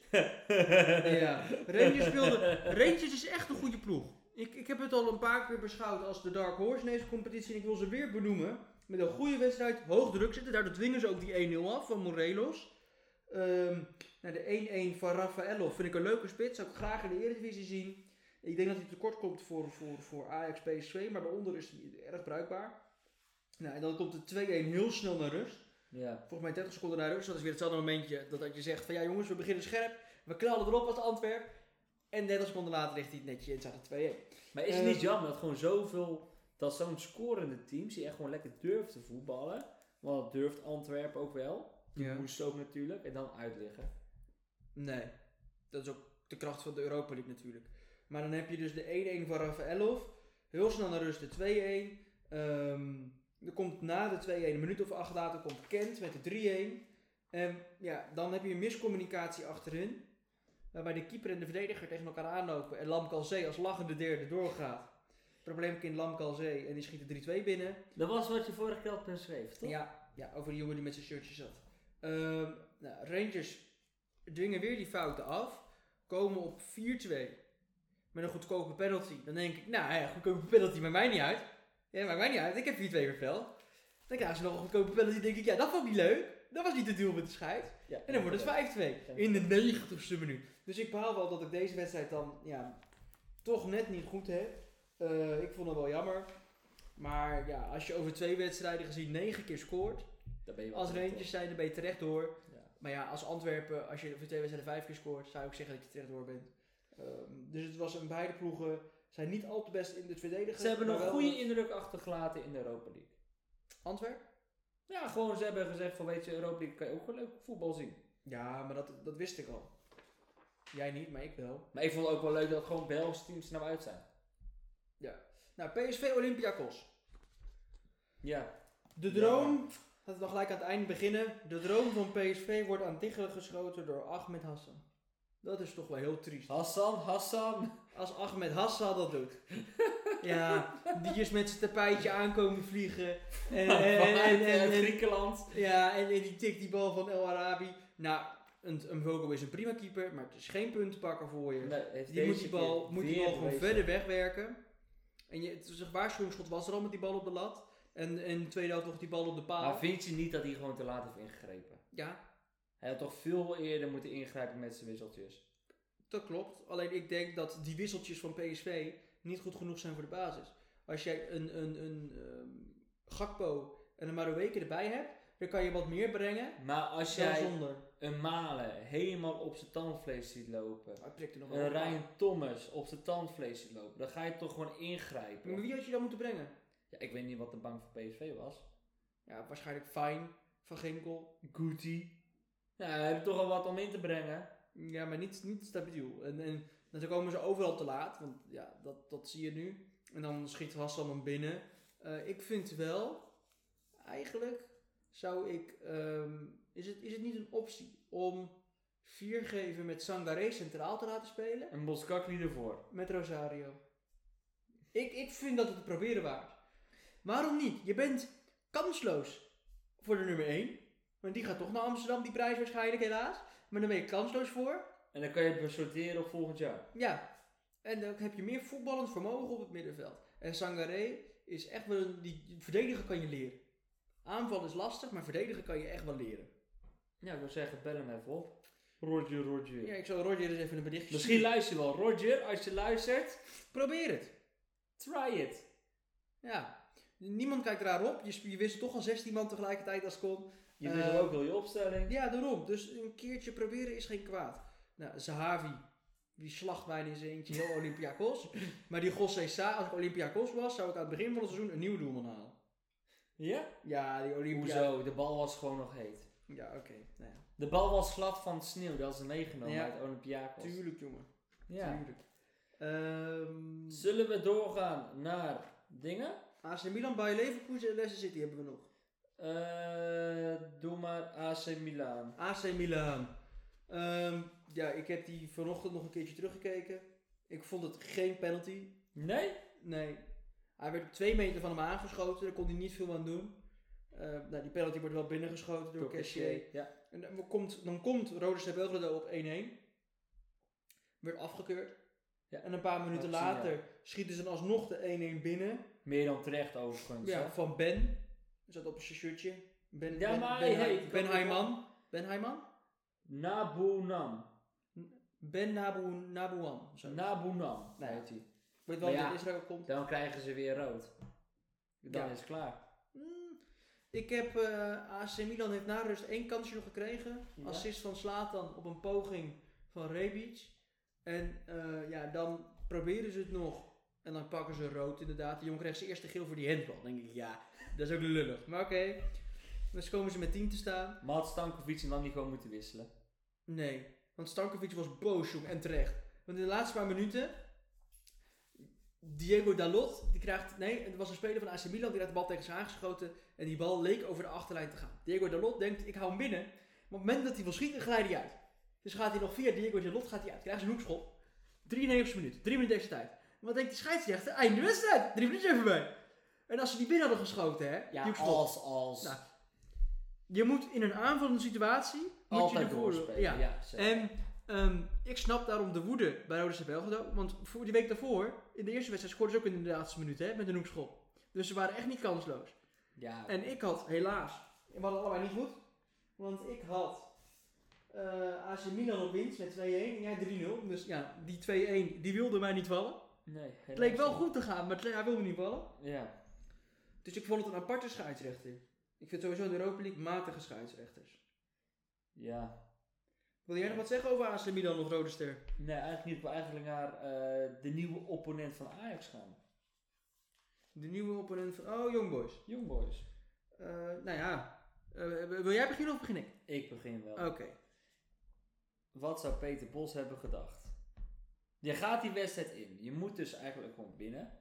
[SPEAKER 1] ja, Rangers speelde. Rangers is echt een goede ploeg. Ik, ik heb het al een paar keer beschouwd als de Dark Horse in deze competitie. En ik wil ze weer benoemen. Met een goede wedstrijd, hoog druk zitten. Daardoor dwingen ze ook die 1-0 af van Morelos. Ehm nou, de 1-1 van Raffaello vind ik een leuke spits. Zou ik graag in de Eredivisie zien. Ik denk dat hij tekort komt voor, voor, voor Ajax PSV. Maar daaronder is hij erg bruikbaar. Nou, en dan komt de 2-1 heel snel naar rust.
[SPEAKER 2] Ja.
[SPEAKER 1] Volgens mij 30 seconden naar rust. Dat is weer hetzelfde momentje dat, dat je zegt van ja jongens, we beginnen scherp. We knallen erop als Antwerp. En 30 seconden later ligt hij het netje in. Staat het 2-1.
[SPEAKER 2] Maar is het
[SPEAKER 1] Eh.
[SPEAKER 2] niet jammer dat gewoon zoveel... Dat zo'n scorende teams die echt gewoon lekker durft te voetballen. Want dat durft Antwerpen ook wel.
[SPEAKER 1] Ja.
[SPEAKER 2] Moest ook natuurlijk. En dan uitliggen.
[SPEAKER 1] Nee. Dat is ook de kracht van de Europa League natuurlijk. Maar dan heb je dus de 1-1 van Rafaelov. Heel snel naar rust de 2-1. Ehm, er komt na de 2-1, een minuut of acht later, komt Kent met de 3-1. En ja, dan heb je een miscommunicatie achterin. Waarbij de keeper en de verdediger tegen elkaar aanlopen. En Lam Kalzee als lachende derde doorgaat. probleemkind Lamkalzee. En die schiet er 3-2 binnen.
[SPEAKER 2] Dat was wat je vorige keer had beschreven, toch?
[SPEAKER 1] Ja, ja, over die jongen die met zijn shirtje zat. Ehm, nou, Rangers dwingen weer die fouten af. Komen op 4-2 met een goedkope penalty. Dan denk ik, nou ja, goedkope penalty maakt mij niet uit. Ja, maakt mij niet uit. Ik heb 4-2 verveld. Dan krijgen ze nog een goedkope penalty. denk ik, ja, dat vond ik niet leuk. Dat was niet het doel met de schijt.
[SPEAKER 2] Ja,
[SPEAKER 1] En dan wordt
[SPEAKER 2] ja.
[SPEAKER 1] het 5-2 in de 90ste minuut. Dus ik behaal wel dat ik deze wedstrijd dan ja, toch net niet goed heb. Eh, ik vond het wel jammer. Maar ja, als je over twee wedstrijden gezien negen keer scoort.
[SPEAKER 2] Daar ben je wel
[SPEAKER 1] Als
[SPEAKER 2] terecht,
[SPEAKER 1] Rangers zijn, dan ben je terecht door.
[SPEAKER 2] toch? Ja.
[SPEAKER 1] Maar ja, als Antwerpen, als je over twee wedstrijden vijf keer scoort, zou ik zeggen dat je terecht door bent. Ehm, dus het was een beide ploegen zijn niet al te best in het verdedigen.
[SPEAKER 2] Ze hebben
[SPEAKER 1] maar
[SPEAKER 2] een
[SPEAKER 1] wel-
[SPEAKER 2] goede indruk achtergelaten in de Europa League.
[SPEAKER 1] Antwerp?
[SPEAKER 2] Ja, gewoon ze hebben gezegd van weet je, Europa League kan je ook wel leuk voetbal zien.
[SPEAKER 1] Ja, maar dat, dat wist ik al. Jij niet, maar ik wel.
[SPEAKER 2] Maar ik vond het ook wel leuk dat gewoon Belgische teams er nou uit zijn.
[SPEAKER 1] Nou, PSV Olympiakos.
[SPEAKER 2] Ja.
[SPEAKER 1] De droom, laten we nog gelijk aan het eind beginnen. De droom van PSV wordt aan diggelen geschoten door Ahmed Hassan. Dat is toch wel heel triest.
[SPEAKER 2] Hassan, Hassan.
[SPEAKER 1] Als Ahmed Hassan dat
[SPEAKER 2] [laughs]
[SPEAKER 1] doet. Ja, die is met zijn tapijtje aankomen vliegen.
[SPEAKER 2] [laughs]
[SPEAKER 1] En, en, en, en,
[SPEAKER 2] Vanuit eh,
[SPEAKER 1] en-
[SPEAKER 2] Griekenland.
[SPEAKER 1] ja, en, en die tikt die bal van El Arabi. Nou, een, een Vogel is een prima keeper, maar het is geen puntenpakker voor je.
[SPEAKER 2] Nee, heeft
[SPEAKER 1] Die moet
[SPEAKER 2] deze
[SPEAKER 1] die bal,
[SPEAKER 2] keer
[SPEAKER 1] moet die
[SPEAKER 2] weer
[SPEAKER 1] bal gewoon
[SPEAKER 2] bewezen.
[SPEAKER 1] verder wegwerken. En je, het was een waarschuwingsschot was er al met die bal op de lat. En in de tweede helft nog die bal op de paal.
[SPEAKER 2] Maar vind je niet dat hij gewoon te laat heeft ingegrepen?
[SPEAKER 1] Ja,
[SPEAKER 2] Hij had toch veel eerder moeten ingrijpen met zijn wisseltjes.
[SPEAKER 1] Dat klopt. Alleen ik denk dat die wisseltjes van PSV niet goed genoeg zijn voor de basis. Als jij een, een, een ehm, Gakpo en een Marouweke erbij hebt, dan kan je wat meer brengen
[SPEAKER 2] Maar als
[SPEAKER 1] dan
[SPEAKER 2] jij
[SPEAKER 1] zonder.
[SPEAKER 2] een Malen helemaal op zijn tandvlees ziet lopen.
[SPEAKER 1] Maar Ah, ik prik er nog wel
[SPEAKER 2] Een
[SPEAKER 1] een paar.
[SPEAKER 2] Eh, Ryan Thomas op zijn tandvlees ziet lopen. Dan ga je toch gewoon
[SPEAKER 1] Maar
[SPEAKER 2] ingrijpen.
[SPEAKER 1] wie had je dan moeten brengen?
[SPEAKER 2] Ja, ik weet niet wat de bank van PSV was.
[SPEAKER 1] Ja, waarschijnlijk Fijn, Van Ginkel, Guti.
[SPEAKER 2] Nou, we hebben toch al wat om in te brengen.
[SPEAKER 1] Ja, maar niet, niet stabiel. En, en dan komen ze overal te laat, want ja, dat, dat zie je nu. En dan schiet Hassan hem binnen. Eh, ik vind wel, eigenlijk zou ik, ehm, is, het, is het niet een optie om viergeven met Sangaré centraal te laten spelen?
[SPEAKER 2] Een Boskakli ervoor.
[SPEAKER 1] Met Rosario. Ik, ik vind dat het te proberen waard. Waarom niet? Je bent kansloos voor de nummer 1. Want die gaat toch naar Amsterdam, die prijs waarschijnlijk helaas. Maar dan ben je kansloos voor.
[SPEAKER 2] En dan kan je het sorteren op volgend jaar.
[SPEAKER 1] Ja, en dan heb je meer voetballend vermogen op het middenveld. En Sangaré is echt wel een. Die, verdedigen kan je leren. Aanval is lastig, maar verdedigen kan je echt wel leren.
[SPEAKER 2] Ja, ik wil zeggen, bel hem even op. Roger, Roger.
[SPEAKER 1] Ja, ik zal Roger eens even een berichtje
[SPEAKER 2] Misschien
[SPEAKER 1] sturen.
[SPEAKER 2] luister je wel. Roger, als je luistert,
[SPEAKER 1] Probeer het.
[SPEAKER 2] try it.
[SPEAKER 1] Ja. Niemand kijkt raar op. Je, sp- je wist toch al 16 man tegelijkertijd als kon.
[SPEAKER 2] Je wil
[SPEAKER 1] Eh,
[SPEAKER 2] ook wel je opstelling.
[SPEAKER 1] Ja, daarom. Dus een keertje proberen is geen kwaad. Nou, Zahavi, die slacht mij in zijn eentje
[SPEAKER 2] [laughs]
[SPEAKER 1] heel Olympiakos. Maar die José Sa, als ik Olympiakos was, zou ik aan het begin van het seizoen een nieuw doelman halen.
[SPEAKER 2] Ja?
[SPEAKER 1] Ja, die Olympiakos.
[SPEAKER 2] Hoezo? De bal was gewoon nog heet.
[SPEAKER 1] Ja, oké. Nou ja.
[SPEAKER 2] De bal was glad van sneeuw. Dat is meegenomen
[SPEAKER 1] Ja.
[SPEAKER 2] uit Olympiakos.
[SPEAKER 1] Tuurlijk, jongen.
[SPEAKER 2] Ja.
[SPEAKER 1] Tuurlijk. Ehm,
[SPEAKER 2] Zullen we doorgaan naar dingen?
[SPEAKER 1] AC Milan bij Leverkusen en Leicester City hebben we nog.
[SPEAKER 2] Eh, doe maar AC Milan.
[SPEAKER 1] AC Milan. Ehm, ja, ik heb die vanochtend nog een keertje teruggekeken. Ik vond het geen penalty.
[SPEAKER 2] Nee?
[SPEAKER 1] Nee. Hij werd op twee meter van hem aangeschoten. Daar kon hij niet veel aan doen. Eh, nou, die penalty wordt wel binnengeschoten door, Cassier.
[SPEAKER 2] Ja.
[SPEAKER 1] En dan komt, dan komt Rodas de Belgrado op 1-1. Werd afgekeurd.
[SPEAKER 2] Ja.
[SPEAKER 1] En een paar minuten
[SPEAKER 2] Dat zie je, ja.
[SPEAKER 1] later schieten ze dan alsnog de 1-1 binnen.
[SPEAKER 2] Meer dan terecht overigens.
[SPEAKER 1] Ja,
[SPEAKER 2] hè?
[SPEAKER 1] van Ben. Zat op zijn shirtje. Ben,
[SPEAKER 2] Ja,
[SPEAKER 1] ben,
[SPEAKER 2] maar
[SPEAKER 1] ben,
[SPEAKER 2] hey,
[SPEAKER 1] Hai-
[SPEAKER 2] ik
[SPEAKER 1] ben
[SPEAKER 2] kan-
[SPEAKER 1] Haiman. Ben Haiman?
[SPEAKER 2] Nabunam.
[SPEAKER 1] Ben Nabu, Nabuan. of zo.
[SPEAKER 2] Nabunam.
[SPEAKER 1] Nee.
[SPEAKER 2] heet hij.
[SPEAKER 1] Weet wel
[SPEAKER 2] Maar
[SPEAKER 1] dat
[SPEAKER 2] ja.
[SPEAKER 1] Israël komt.
[SPEAKER 2] Dan krijgen ze weer rood. Dan
[SPEAKER 1] Ja.
[SPEAKER 2] is het klaar.
[SPEAKER 1] Hmm, Ik heb eh, AC Milan heeft na rust één kansje nog gekregen.
[SPEAKER 2] Ja.
[SPEAKER 1] Assist van Slatan op een poging van Rebic. En eh, ja, dan proberen ze het nog. En dan pakken ze rood inderdaad. De jongen kreeg zijn eerste geel voor die handbal. Dan denk ik, ja, dat is ook lullig. Maar oké. Dus komen ze met 10 te staan.
[SPEAKER 2] Maar had Stankovic en dan niet gewoon moeten wisselen?
[SPEAKER 1] Nee, want Stankovic was boos, jong, en terecht. Want in de laatste paar minuten, Diego Dalot, die krijgt, nee, er was een speler van AC Milan, die had de bal tegen zich aangeschoten en die bal leek over de achterlijn te gaan. Diego Dalot denkt, ik hou hem binnen, maar op het moment dat hij wil schieten, glijdt hij uit. Dus gaat hij nog via Diego Dalot, gaat hij uit, krijgt zijn hoekschop. 93 minuten, 3 minuten deze tijd. Wat denkt die scheidsrechter? Einde wedstrijd. Drie minuten even bij. En als ze die binnen hadden geschoten, hè?
[SPEAKER 2] Ja,
[SPEAKER 1] Joekschot.
[SPEAKER 2] als, als.
[SPEAKER 1] Nou, Je moet in een aanvallende situatie... moet je
[SPEAKER 2] altijd
[SPEAKER 1] de voordeel-
[SPEAKER 2] doorspelen.
[SPEAKER 1] Ja.
[SPEAKER 2] Ja, zeker.
[SPEAKER 1] En ehm, ik snap daarom de woede bij Roda CVL gedaan. Want voor die week daarvoor, in de eerste wedstrijd, scoorden ze ook in de laatste minuut hè, met een hoekschop. Dus ze waren echt niet kansloos.
[SPEAKER 2] ja.
[SPEAKER 1] En ik had helaas, we hadden allebei niet goed. Want ik had eh AC Milan op winst met 2-1 en jij 3-0. Dus ja, die 2-1 die wilde mij niet vallen.
[SPEAKER 2] nee,
[SPEAKER 1] Het
[SPEAKER 2] helaas
[SPEAKER 1] leek wel
[SPEAKER 2] niet.
[SPEAKER 1] goed te gaan, maar het le- hij wilde me niet vallen.
[SPEAKER 2] Ja.
[SPEAKER 1] Dus ik vond het een aparte scheidsrechter. Ik vind sowieso in de Europa League matige scheidsrechters.
[SPEAKER 2] Ja.
[SPEAKER 1] Wil jij nog wat zeggen over AC Milan of Rode Ster?
[SPEAKER 2] Nee, eigenlijk niet. Ik wil eigenlijk naar eh, de nieuwe opponent van Ajax gaan.
[SPEAKER 1] De nieuwe opponent van... Oh, Young Boys.
[SPEAKER 2] Young Boys.
[SPEAKER 1] Eh, nou ja, Eh, wil jij beginnen of begin ik?
[SPEAKER 2] Ik begin wel.
[SPEAKER 1] Oké.
[SPEAKER 2] Wat zou Peter Bos hebben gedacht? Je gaat die wedstrijd in. Je moet dus eigenlijk gewoon winnen.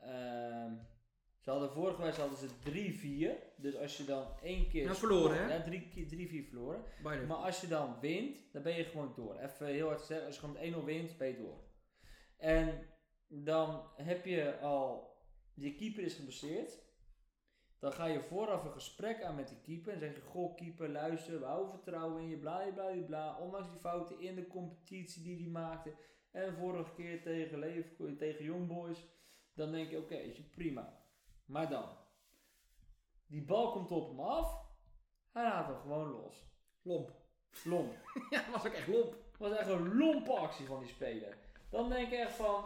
[SPEAKER 2] Ehm, ze hadden vorige wedstrijd hadden ze 3-4. Dus als je dan één keer...
[SPEAKER 1] Nou, verloren,
[SPEAKER 2] scoort-
[SPEAKER 1] hè?
[SPEAKER 2] Ja, drie keer- 3-4 verloren.
[SPEAKER 1] Bijna.
[SPEAKER 2] Maar als je dan wint, dan ben je gewoon door. Even heel hard gezegd, als je gewoon met 1-0 wint, ben je door. En dan heb je al, je keeper is geblesseerd. Dan ga je vooraf een gesprek aan met die keeper. En zeg je, goh keeper, luister, we houden vertrouwen in je, bla bla bla bla. Ondanks die fouten in de competitie die hij maakte. En vorige keer tegen, Leverkusen, tegen Young Boys. Dan denk je, oké, is je prima. Maar dan, die bal komt op hem af. Hij laat hem gewoon los.
[SPEAKER 1] Lomp. [laughs]
[SPEAKER 2] Lomp.
[SPEAKER 1] ja, was ook echt lomp.
[SPEAKER 2] was echt een lompe actie van die speler. Dan denk ik echt van,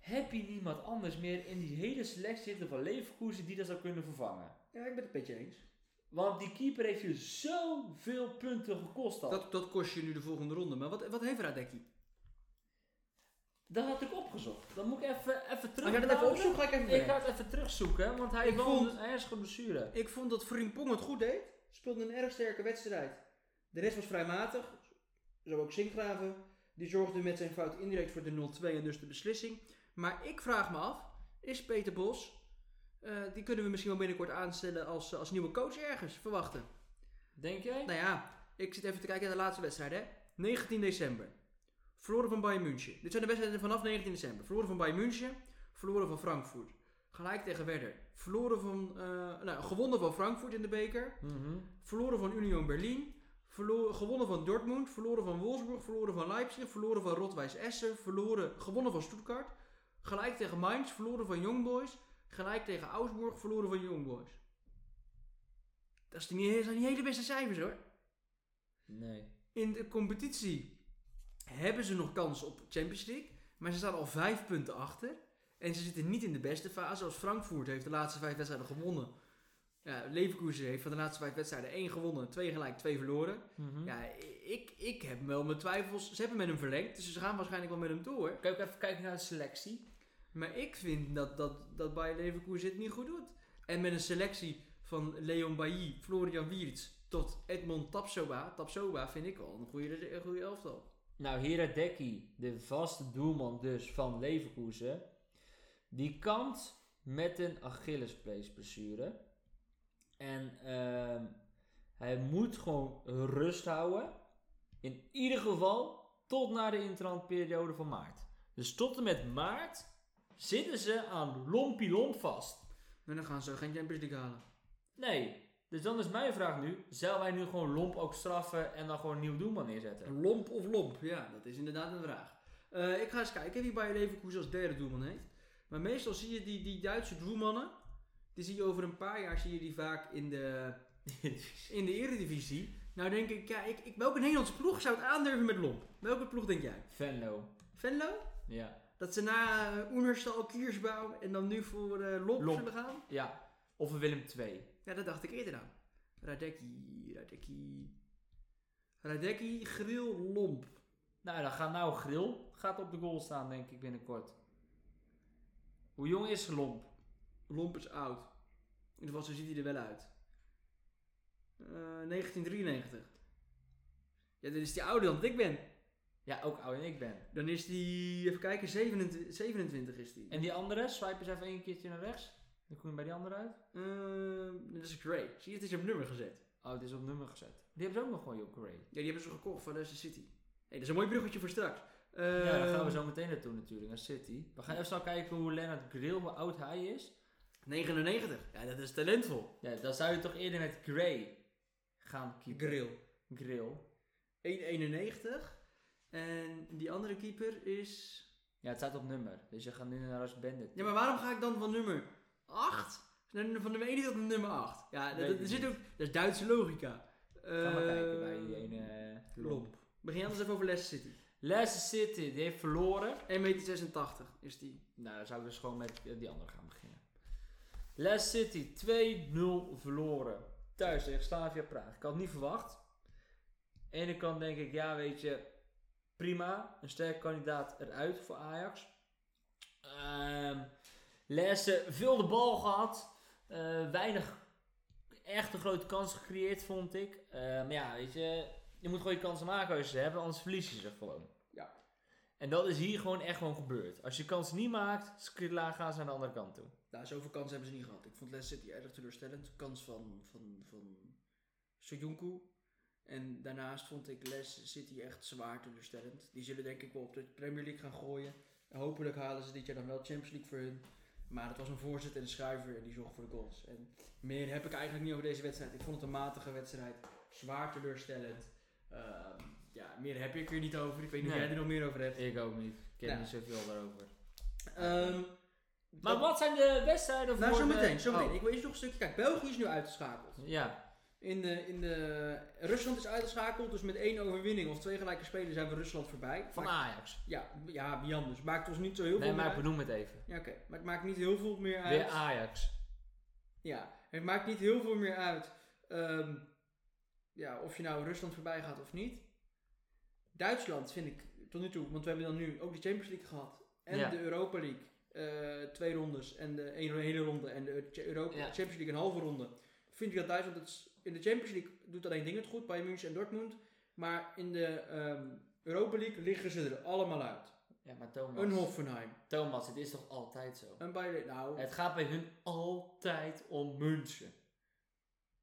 [SPEAKER 2] heb je niemand anders meer in die hele selectie zitten van Leverkusen die dat zou kunnen vervangen?
[SPEAKER 1] Ja, ik ben het een beetje eens.
[SPEAKER 2] Want die keeper heeft je zoveel punten gekost al. Dat,
[SPEAKER 1] Dat, dat kost je nu de volgende ronde. Maar wat, wat heeft Radecki?
[SPEAKER 2] had ik opgezocht. Dan moet ik
[SPEAKER 1] Als
[SPEAKER 2] even, even
[SPEAKER 1] jij dat even
[SPEAKER 2] terugbladeren.
[SPEAKER 1] opzoekt, ga ik even
[SPEAKER 2] Ik
[SPEAKER 1] brengen.
[SPEAKER 2] ga het even terugzoeken, want hij dus
[SPEAKER 1] Ik
[SPEAKER 2] heeft wel
[SPEAKER 1] vond-
[SPEAKER 2] een ernstige blessure.
[SPEAKER 1] Ik vond dat Frimpong het goed deed. Speelde een erg sterke wedstrijd. De rest was vrij matig. Zo ook Sinkgraven. Die zorgde met zijn fout indirect voor de 0-2 en dus de beslissing. Maar ik vraag me af, is Peter Bos... eh, die kunnen we misschien wel binnenkort aanstellen als, eh, als nieuwe coach ergens verwachten.
[SPEAKER 2] Denk jij?
[SPEAKER 1] Nou ja, ik zit even te kijken naar de laatste wedstrijd, hè. 19 december. Verloren van Bayern München. Dit zijn de wedstrijden vanaf 19 december. Verloren van Bayern München. Verloren van Frankfurt. Gelijk tegen Werder. Verloren van... eh, nou, gewonnen van Frankfurt in de beker.
[SPEAKER 2] Mhm.
[SPEAKER 1] Verloren van Union Berlin. Verloren, gewonnen van Dortmund. Verloren van Wolfsburg. Verloren van Leipzig. Verloren van Rotwijs Essen. Verloren, gewonnen van Stuttgart. Gelijk tegen Mainz. Verloren van Young Boys. Gelijk tegen Augsburg. Verloren van Young Boys. Dat is niet, dat zijn niet hele beste cijfers hoor.
[SPEAKER 2] Nee.
[SPEAKER 1] In de competitie hebben ze nog kans op Champions League. Maar ze staan al vijf punten achter. En ze zitten niet in de beste fase. Als Frankfurt heeft de laatste vijf wedstrijden gewonnen. Ja, Leverkusen heeft van de laatste vijf wedstrijden één gewonnen, twee gelijk, twee verloren.
[SPEAKER 2] Mhm.
[SPEAKER 1] Ja, ik, ik heb wel mijn twijfels. Ze hebben met hem verlengd, dus ze gaan waarschijnlijk wel met hem door.
[SPEAKER 2] Kijk even kijken naar de selectie.
[SPEAKER 1] Maar ik vind dat, dat, dat Bayer Leverkusen het niet goed doet. En met een selectie van Leon Bailly, Florian Wiertz tot Edmond Tapsoba. Tapsoba vind ik wel een goede, een goede elftal.
[SPEAKER 2] Nou, Heradecki, de vaste doelman dus van Leverkusen, die kampt met een Achillespeesblessure. En ehm, hij moet gewoon rust houden. In ieder geval tot na de interlandperiode van maart. Dus tot en met maart zitten ze aan lompie lomp vast.
[SPEAKER 1] En dan gaan ze geen Champions League halen.
[SPEAKER 2] Nee. Dus dan is mijn vraag nu, zou wij nu gewoon lomp ook straffen en dan gewoon een nieuw doelman neerzetten?
[SPEAKER 1] Lomp of lomp? Ja, dat is inderdaad een vraag. Eh, ik ga eens kijken wie Bayer Leverkusen als derde doelman heeft. Maar meestal zie je die, die Duitse doelmannen. Die zie je over een paar jaar zie je die vaak in [laughs] de, in de eredivisie. Nou denk ik, ja, ik, ik, welke Nederlandse ploeg zou het aandurven met lomp? Welke ploeg denk jij?
[SPEAKER 2] Venlo.
[SPEAKER 1] Venlo?
[SPEAKER 2] Ja.
[SPEAKER 1] Dat ze na eh, Oenerstal, Kiersbouw en dan nu voor eh lomp,
[SPEAKER 2] Lomp.
[SPEAKER 1] zullen gaan?
[SPEAKER 2] Ja. Of een Willem 2.
[SPEAKER 1] Ja, dat dacht ik eerder aan. Radecki, Radecki... Radecki, Grill, Lomp.
[SPEAKER 2] Nou, dan gaat nou Grill gaat op de goal staan, denk ik, binnenkort. Hoe jong is Lomp?
[SPEAKER 1] Lomp is oud. In ieder geval, zo ziet hij er wel uit. Eh, 1993. Ja, dan is hij ouder dan dat ik ben.
[SPEAKER 2] Ja, ook ouder dan ik ben.
[SPEAKER 1] Dan is die, even kijken, 27, 27 is die.
[SPEAKER 2] En die andere, swipe eens even een keertje naar rechts. Dan kom je bij die andere uit.
[SPEAKER 1] Ehm, dat is Gray. Zie je, het is op nummer gezet.
[SPEAKER 2] Oh, het is op nummer gezet. Die hebben ze ook nog gewoon, joh, Gray.
[SPEAKER 1] Ja, die hebben ze gekocht van Leicester City. Hé, dat is een mooi bruggetje voor straks. Eh,
[SPEAKER 2] ja, daar gaan we zo meteen naartoe natuurlijk, naar City. We gaan even snel kijken hoe Lennart Grill, hoe oud hij is.
[SPEAKER 1] 99. Ja, dat is talentvol.
[SPEAKER 2] Ja, dan zou je toch eerder met Gray gaan keeper.
[SPEAKER 1] Grill.
[SPEAKER 2] Grill.
[SPEAKER 1] 1,91. En die andere keeper is...
[SPEAKER 2] Ja, het staat op nummer. Dus je gaat nu naar Rush Bandit.
[SPEAKER 1] Ja, maar waarom ga ik dan van nummer 8? Van nummer 1 tot nummer 8. Ja, dat,
[SPEAKER 2] Weet
[SPEAKER 1] dat
[SPEAKER 2] ik
[SPEAKER 1] zit
[SPEAKER 2] niet.
[SPEAKER 1] ook, dat is Duitse logica.
[SPEAKER 2] Ga maar
[SPEAKER 1] Eh,
[SPEAKER 2] kijken bij die ene eh,
[SPEAKER 1] Lomp. Begin anders even over Leicester City.
[SPEAKER 2] Leicester City, die heeft verloren.
[SPEAKER 1] 1,86 meter is die.
[SPEAKER 2] Nou, dan zou ik dus gewoon met eh, die andere gaan beginnen. Leicester City 2-0 verloren. Thuis tegen Slavia Praag. Ik had het niet verwacht. Aan de ene kant denk ik, ja weet je, prima. Een sterk kandidaat eruit voor Ajax. Ehm Leicester veel de bal gehad. Eh, weinig echt een grote kans gecreëerd, vond ik. Eh, maar ja, weet je, je moet gewoon je kansen maken als je ze hebt, anders verlies je ze gewoon.
[SPEAKER 1] Ja.
[SPEAKER 2] En dat is hier gewoon echt gewoon gebeurd. Als je kans niet maakt, skridla, gaan ze naar de andere kant toe.
[SPEAKER 1] Nou, zoveel kansen hebben ze niet gehad. Ik vond Leicester City erg teleurstellend. Kans van, van, van Soyuncu. En daarnaast vond ik Leicester City echt zwaar teleurstellend. Die zullen denk ik wel op de Premier League gaan gooien. En hopelijk halen ze dit jaar dan wel Champions League voor hun. Maar het was een voorzet en een schuiver en die zorgde voor de goals. En meer heb ik eigenlijk niet over deze wedstrijd. Ik vond het een matige wedstrijd. Zwaar teleurstellend. Ehm, ja, meer heb ik er niet over. Ik weet niet of
[SPEAKER 2] Nee.
[SPEAKER 1] jij er nog meer over hebt.
[SPEAKER 2] Ik ook niet. Ik ken
[SPEAKER 1] Nou.
[SPEAKER 2] niet zoveel daarover.
[SPEAKER 1] Ehm,
[SPEAKER 2] Maar wat zijn de wedstrijden voor...
[SPEAKER 1] Nou, zo
[SPEAKER 2] de-
[SPEAKER 1] meteen. Zo meteen.
[SPEAKER 2] Oh,
[SPEAKER 1] Ik wil eerst nog een stukje. Kijk, België is nu uitgeschakeld.
[SPEAKER 2] Ja,
[SPEAKER 1] In de, in de, Rusland is uitgeschakeld, dus met één overwinning of twee gelijke spelen zijn we Rusland voorbij.
[SPEAKER 2] van
[SPEAKER 1] Maakt-
[SPEAKER 2] Ajax.
[SPEAKER 1] ja, ja, Jan, dus maakt ons niet zo heel
[SPEAKER 2] Nee,
[SPEAKER 1] veel meer
[SPEAKER 2] maar ik
[SPEAKER 1] uit.
[SPEAKER 2] benoem het even.
[SPEAKER 1] Ja, oké. Maar het maakt niet heel veel meer uit.
[SPEAKER 2] Weer Ajax.
[SPEAKER 1] Ja, het maakt niet heel veel meer uit ehm, ja, of je nou Rusland voorbij gaat of niet. Duitsland vind ik tot nu toe, want we hebben dan nu ook de Champions League gehad en
[SPEAKER 2] Ja.
[SPEAKER 1] de Europa League. eh, twee rondes en de één hele ronde en de Europa
[SPEAKER 2] Ja.
[SPEAKER 1] Champions League een halve ronde. Vind ik dat Duitsland het s- in de Champions League doet alleen dingen het goed bij München en Dortmund, maar in de ehm, Europa League liggen ze er allemaal uit.
[SPEAKER 2] Ja, maar Thomas...
[SPEAKER 1] Een Hoffenheim,
[SPEAKER 2] Thomas, het is toch altijd zo?
[SPEAKER 1] een Bayern, nou,
[SPEAKER 2] Het gaat bij hun altijd om München.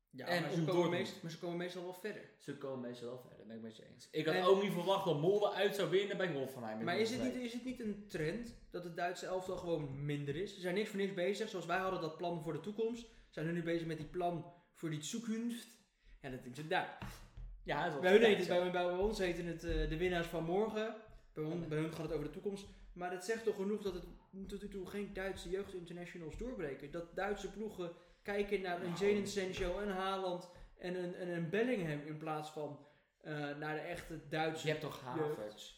[SPEAKER 1] ja,
[SPEAKER 2] en
[SPEAKER 1] maar,
[SPEAKER 2] om
[SPEAKER 1] ze komen
[SPEAKER 2] Dortmund.
[SPEAKER 1] meest, maar ze komen meestal wel verder.
[SPEAKER 2] Ze komen meestal wel verder, ben ik met je eens. Ik had
[SPEAKER 1] En-
[SPEAKER 2] ook niet verwacht dat Molde uit zou winnen bij Hoffenheim. in
[SPEAKER 1] Maar
[SPEAKER 2] de
[SPEAKER 1] is het, niet,
[SPEAKER 2] wedstrijd.
[SPEAKER 1] is het niet een trend dat het Duitse elftal gewoon minder is? Ze zijn niks voor niks bezig. Zoals wij hadden dat plan voor de toekomst, zijn hun nu bezig met die plan voor die toekomst. Ja, dat is het daar.
[SPEAKER 2] Ja, het was
[SPEAKER 1] Bij, hun
[SPEAKER 2] tijd,
[SPEAKER 1] heet het,
[SPEAKER 2] ja.
[SPEAKER 1] bij, bij ons heten het eh, de winnaars van morgen. Bij, hun- bij hun gaat het over de toekomst. Maar dat zegt toch genoeg dat het tot nu toe geen Duitse jeugdinternationals doorbreken. Dat Duitse ploegen kijken naar een Jadon Sancho, een Haaland en een, en een Bellingham in plaats van eh, naar de echte Duitse.
[SPEAKER 2] Je hebt toch
[SPEAKER 1] jeugd.
[SPEAKER 2] Havertz.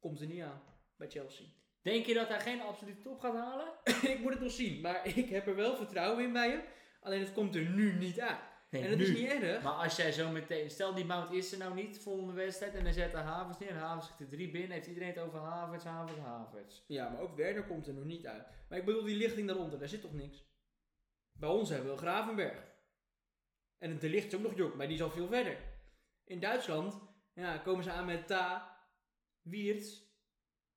[SPEAKER 1] Komt er niet aan bij Chelsea.
[SPEAKER 2] Denk je dat hij geen absolute top gaat halen?
[SPEAKER 1] [laughs] ik moet het nog zien, maar ik heb er wel vertrouwen in bij hem. Alleen het komt er nu niet aan.
[SPEAKER 2] Nee,
[SPEAKER 1] en dat is niet erg.
[SPEAKER 2] Maar als jij zo meteen... Stel, die Mount is er nou niet volgende wedstrijd en hij zet de Havertz neer. En Havertz zegt er drie binnen. Heeft iedereen het over Havertz, Havertz, Havertz.
[SPEAKER 1] Ja, maar ook Werner komt er nog niet uit. Maar ik bedoel, die lichting daaronder, daar zit toch niks? Bij ons hebben we Gravenberg. En het licht is ook nog jong, maar die is al veel verder. In Duitsland ja, komen ze aan met Ta, Wiertz.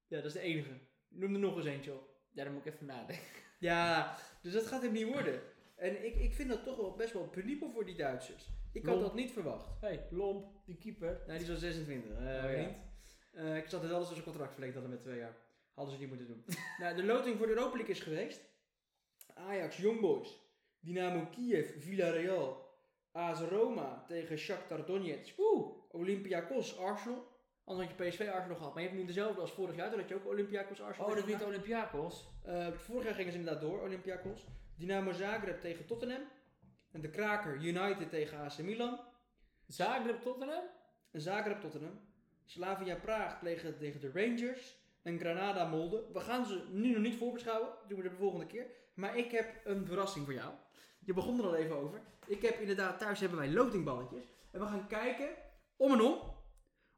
[SPEAKER 1] Ja, dat is de enige. Noem er nog eens eentje op.
[SPEAKER 2] Ja, dan moet ik even nadenken.
[SPEAKER 1] Ja, dus dat gaat hem niet worden. En ik, ik vind dat toch wel best wel penibel voor die Duitsers. Ik had
[SPEAKER 2] Lom.
[SPEAKER 1] dat niet verwacht.
[SPEAKER 2] hey, Lomp, die keeper.
[SPEAKER 1] Nee, die is al 26. eh,
[SPEAKER 2] Oh, ja.
[SPEAKER 1] vriend. Eh, ik zat het alles als een contract verlengd hadden met twee jaar. Hadden ze niet moeten doen. [laughs] nou, de loting voor de Europa League is geweest. Ajax, Young Boys, Dynamo Kiev, Villarreal, AS Roma tegen Shakhtar Donetsk,
[SPEAKER 2] Oeh.
[SPEAKER 1] Olympiakos, Arsenal. Anders had je PSV Arsenal gehad, maar je hebt nu dezelfde als vorig jaar. Toen had je ook Olympiakos Arsenal.
[SPEAKER 2] Oh, dat
[SPEAKER 1] tegen
[SPEAKER 2] wint Olympiakos.
[SPEAKER 1] elkaar. Eh, vorig jaar gingen ze inderdaad door, Olympiakos. Dynamo Zagreb tegen Tottenham. En de kraker United tegen AC Milan.
[SPEAKER 2] Zagreb, Tottenham.
[SPEAKER 1] Zagreb Tottenham. Slavia Praag tegen, tegen de Rangers. En Granada Molde. We gaan ze nu nog niet voorbeschouwen. Doen we dat de volgende keer. Maar ik heb een verrassing voor jou. Je begon er al even over. Ik heb inderdaad, thuis hebben wij lotingballetjes. En we gaan kijken, om en om,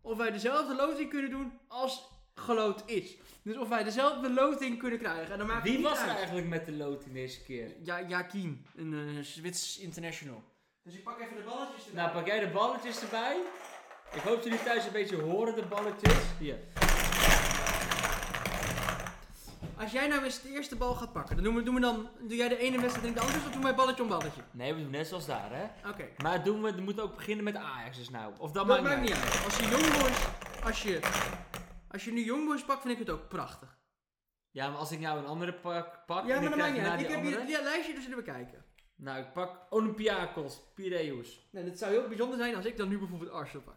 [SPEAKER 1] of wij dezelfde loting kunnen doen als geloot is. Dus of wij dezelfde loting kunnen krijgen. En dan maakt het
[SPEAKER 2] Wie
[SPEAKER 1] niet
[SPEAKER 2] was er
[SPEAKER 1] uit.
[SPEAKER 2] eigenlijk met de loting deze keer?
[SPEAKER 1] Ja, Jakin, een eh, Zwits international. Dus ik pak even de balletjes erbij.
[SPEAKER 2] Nou, pak jij de balletjes erbij. Ik hoop dat jullie thuis een beetje horen, de balletjes. Hier.
[SPEAKER 1] Als jij nou eens de eerste bal gaat pakken, dan doen we, doen we dan, doe jij de ene wedstrijd en ik de andere, of doen wij balletje om balletje?
[SPEAKER 2] Nee, we doen net zoals daar, hè.
[SPEAKER 1] Oké.
[SPEAKER 2] Maar doen we, we moeten ook beginnen met Ajax dus nou. Of dat,
[SPEAKER 1] Dat
[SPEAKER 2] maakt niet uit.
[SPEAKER 1] uit. Als je jong wordt, als je Als je nu Youngboys pakt, vind ik het ook prachtig.
[SPEAKER 2] Ja, maar als ik nou een andere pak, pak
[SPEAKER 1] Ja,
[SPEAKER 2] en
[SPEAKER 1] maar
[SPEAKER 2] ik
[SPEAKER 1] dat
[SPEAKER 2] kijk
[SPEAKER 1] maakt niet
[SPEAKER 2] naar
[SPEAKER 1] uit.
[SPEAKER 2] die
[SPEAKER 1] Ik heb
[SPEAKER 2] andere...
[SPEAKER 1] hier ja, lijstje, dus zullen we kijken.
[SPEAKER 2] Nou, ik pak Olympiakos, Piraeus.
[SPEAKER 1] Nou, het zou heel bijzonder zijn als ik dan nu bijvoorbeeld Arsenal pak.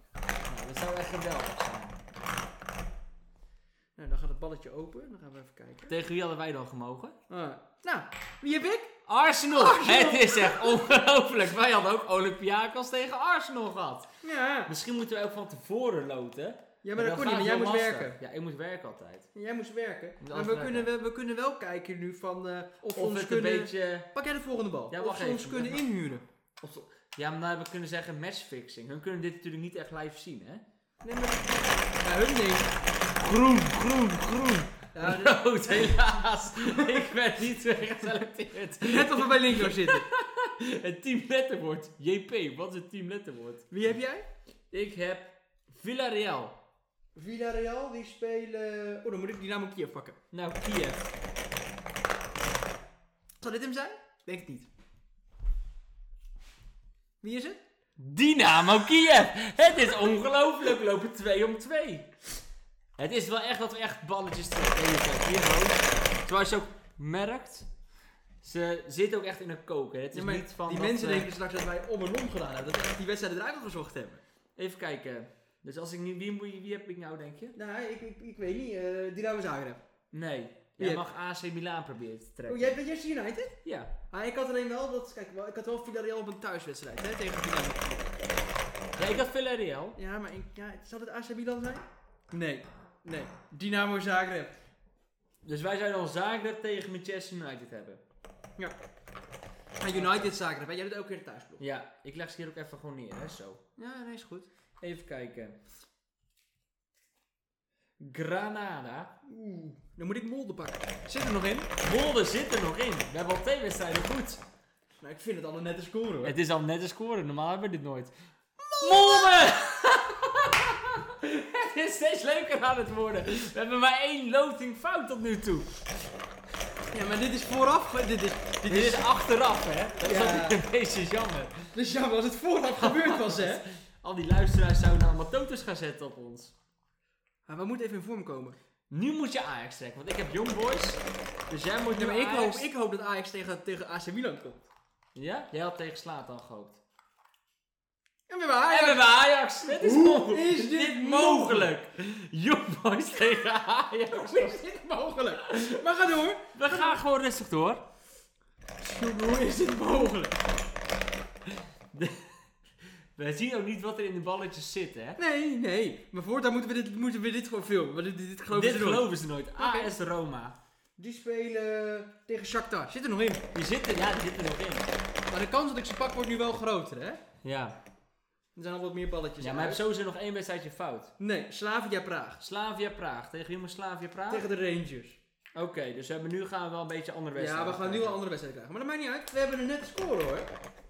[SPEAKER 2] Nou, dat zou echt geweldig zijn.
[SPEAKER 1] Nou, dan gaat het balletje open. Dan gaan we even kijken.
[SPEAKER 2] Tegen wie hadden wij dan gemogen?
[SPEAKER 1] Ah, nou, wie heb ik?
[SPEAKER 2] Arsenal! Het is echt ongelooflijk. Wij hadden ook Olympiakos tegen Arsenal gehad.
[SPEAKER 1] Ja.
[SPEAKER 2] Misschien moeten we ook van tevoren loten.
[SPEAKER 1] Ja, maar dat kon niet,
[SPEAKER 2] gaat
[SPEAKER 1] want jij
[SPEAKER 2] heel
[SPEAKER 1] moest
[SPEAKER 2] lastig.
[SPEAKER 1] werken.
[SPEAKER 2] Ja, ik moest werken altijd.
[SPEAKER 1] Jij moest werken.
[SPEAKER 2] Moet
[SPEAKER 1] Maar
[SPEAKER 2] alles
[SPEAKER 1] we
[SPEAKER 2] werken.
[SPEAKER 1] kunnen, we, we kunnen wel kijken nu van eh, of, we
[SPEAKER 2] Of
[SPEAKER 1] ons
[SPEAKER 2] het een
[SPEAKER 1] kunnen...
[SPEAKER 2] beetje...
[SPEAKER 1] Pak jij de volgende bal.
[SPEAKER 2] Ja,
[SPEAKER 1] of
[SPEAKER 2] wacht
[SPEAKER 1] ze
[SPEAKER 2] even,
[SPEAKER 1] ons kunnen
[SPEAKER 2] wacht.
[SPEAKER 1] inhuren.
[SPEAKER 2] Of, ja, maar dan hebben we kunnen zeggen matchfixing. Hun kunnen dit natuurlijk niet echt live zien, hè? [laughs]
[SPEAKER 1] Nee, maar... Ja, hun niet.
[SPEAKER 2] Groen, groen, groen.
[SPEAKER 1] Ja, dit-
[SPEAKER 2] Rood, Oh, helaas. ik ben niet weer geselecteerd.
[SPEAKER 1] [laughs] Net of we bij Lingo zitten.
[SPEAKER 2] Het teamletterwoord. JP, wat is het teamletterwoord?
[SPEAKER 1] Wie heb jij?
[SPEAKER 2] Ik heb Villarreal.
[SPEAKER 1] Villarreal, die spelen... Oh, dan moet ik Dynamo Kiev pakken.
[SPEAKER 2] Nou, Kiev.
[SPEAKER 1] Zal dit hem zijn? Denk het niet. Wie is het?
[SPEAKER 2] Dynamo Kiev. Het is ongelooflijk. We lopen 2 om 2. Het is wel echt dat we echt balletjes teruggeven. Hier rood. Terwijl je ook merkt, ze zitten ook echt in een koker. Het is
[SPEAKER 1] Ja, maar
[SPEAKER 2] niet van
[SPEAKER 1] die
[SPEAKER 2] dat eh,
[SPEAKER 1] mensen
[SPEAKER 2] we-
[SPEAKER 1] denken straks dat wij om en om gedaan hebben. Dat we echt die wedstrijden eruit gezocht hebben.
[SPEAKER 2] Even kijken. Dus als ik nu... Wie, moet je- wie heb ik nou, denk je?
[SPEAKER 1] Nou, ik, ik, ik weet niet. eh Dynamo Zagreb.
[SPEAKER 2] Nee.
[SPEAKER 1] Wie
[SPEAKER 2] Jij
[SPEAKER 1] heb-
[SPEAKER 2] mag AC Milan proberen te trekken.
[SPEAKER 1] Oh, jij bent Manchester United?
[SPEAKER 2] Ja.
[SPEAKER 1] Ah, ik had alleen wel dat... Kijk, wel- ik had wel Villarreal op een thuiswedstrijd. Hè, tegen Dynamo.
[SPEAKER 2] ja. Ik had Villarreal.
[SPEAKER 1] Ja, maar ik, ja, zal het AC Milan zijn? Nee. Nee. Dynamo Zagreb.
[SPEAKER 2] Dus wij zouden al Zagreb tegen Manchester United hebben.
[SPEAKER 1] Ja. En United Zagreb. Hè? Jij bent ook weer de thuisblok.
[SPEAKER 2] Ja, ik leg ze hier ook even gewoon neer, hè, zo.
[SPEAKER 1] Ja, nee, is goed.
[SPEAKER 2] Even kijken. Granada.
[SPEAKER 1] Oeh. Dan moet ik Molde pakken. Zit er nog in?
[SPEAKER 2] Molde zit er nog in. We hebben al twee wedstrijden goed.
[SPEAKER 1] Nou, ik vind het al een nette score hoor.
[SPEAKER 2] Het is al net een score. Normaal hebben we dit nooit. Molde! [laughs] het is steeds leuker aan het worden. We hebben maar één loting fout tot nu toe.
[SPEAKER 1] Ja, maar dit is vooraf. ge- Dit is, dit
[SPEAKER 2] Dit
[SPEAKER 1] is,
[SPEAKER 2] is achteraf, hè? Dat is
[SPEAKER 1] Ja.
[SPEAKER 2] altijd een beetje jammer.
[SPEAKER 1] dus jammer als het vooraf gebeurd was, hè?
[SPEAKER 2] Al die luisteraars zouden allemaal totos gaan zetten op ons.
[SPEAKER 1] [laughs] Maar we moeten even in vorm komen.
[SPEAKER 2] Nu moet je Ajax trekken, want ik heb Young Boys. Dus jij moet nu
[SPEAKER 1] Ja, maar ik hoop,
[SPEAKER 2] Ajax...
[SPEAKER 1] ik hoop dat Ajax tegen, tegen AC Milan komt.
[SPEAKER 2] Ja? Jij had tegen Slatan gehoopt.
[SPEAKER 1] En we hebben Ajax.
[SPEAKER 2] En we hebben Ajax. Dit is
[SPEAKER 1] Hoe
[SPEAKER 2] mogelijk.
[SPEAKER 1] is dit
[SPEAKER 2] mogelijk? Young Boys tegen Ajax.
[SPEAKER 1] Hoe is dit mogelijk? Maar ga door.
[SPEAKER 2] We gaan gewoon rustig door.
[SPEAKER 1] Hoe is dit mogelijk?
[SPEAKER 2] We zien ook niet wat er in de balletjes zit, hè?
[SPEAKER 1] Nee, nee. Maar voortaan moeten we dit, moeten we dit gewoon filmen. Want dit, dit, dit geloven
[SPEAKER 2] Dit
[SPEAKER 1] ze nooit.
[SPEAKER 2] geloven ze nooit. AS Roma.
[SPEAKER 1] Die spelen tegen Shakhtar. Zit er nog in.
[SPEAKER 2] Die zitten, ja, die zitten er nog in.
[SPEAKER 1] Maar de kans dat ik ze pak wordt nu wel groter, hè?
[SPEAKER 2] Ja.
[SPEAKER 1] Er zijn al wat meer balletjes.
[SPEAKER 2] Ja, maar heb
[SPEAKER 1] uit.
[SPEAKER 2] sowieso nog één wedstrijdje fout.
[SPEAKER 1] Nee, Slavia Praag.
[SPEAKER 2] Slavia Praag. Tegen wie moet Slavia Praag?
[SPEAKER 1] Tegen de Rangers.
[SPEAKER 2] Oké, dus we hebben nu gaan we wel een beetje andere
[SPEAKER 1] Ja,
[SPEAKER 2] wedstrijden.
[SPEAKER 1] we gaan nu al een andere wedstrijd krijgen. Maar dat maakt niet uit. We hebben een nette score hoor.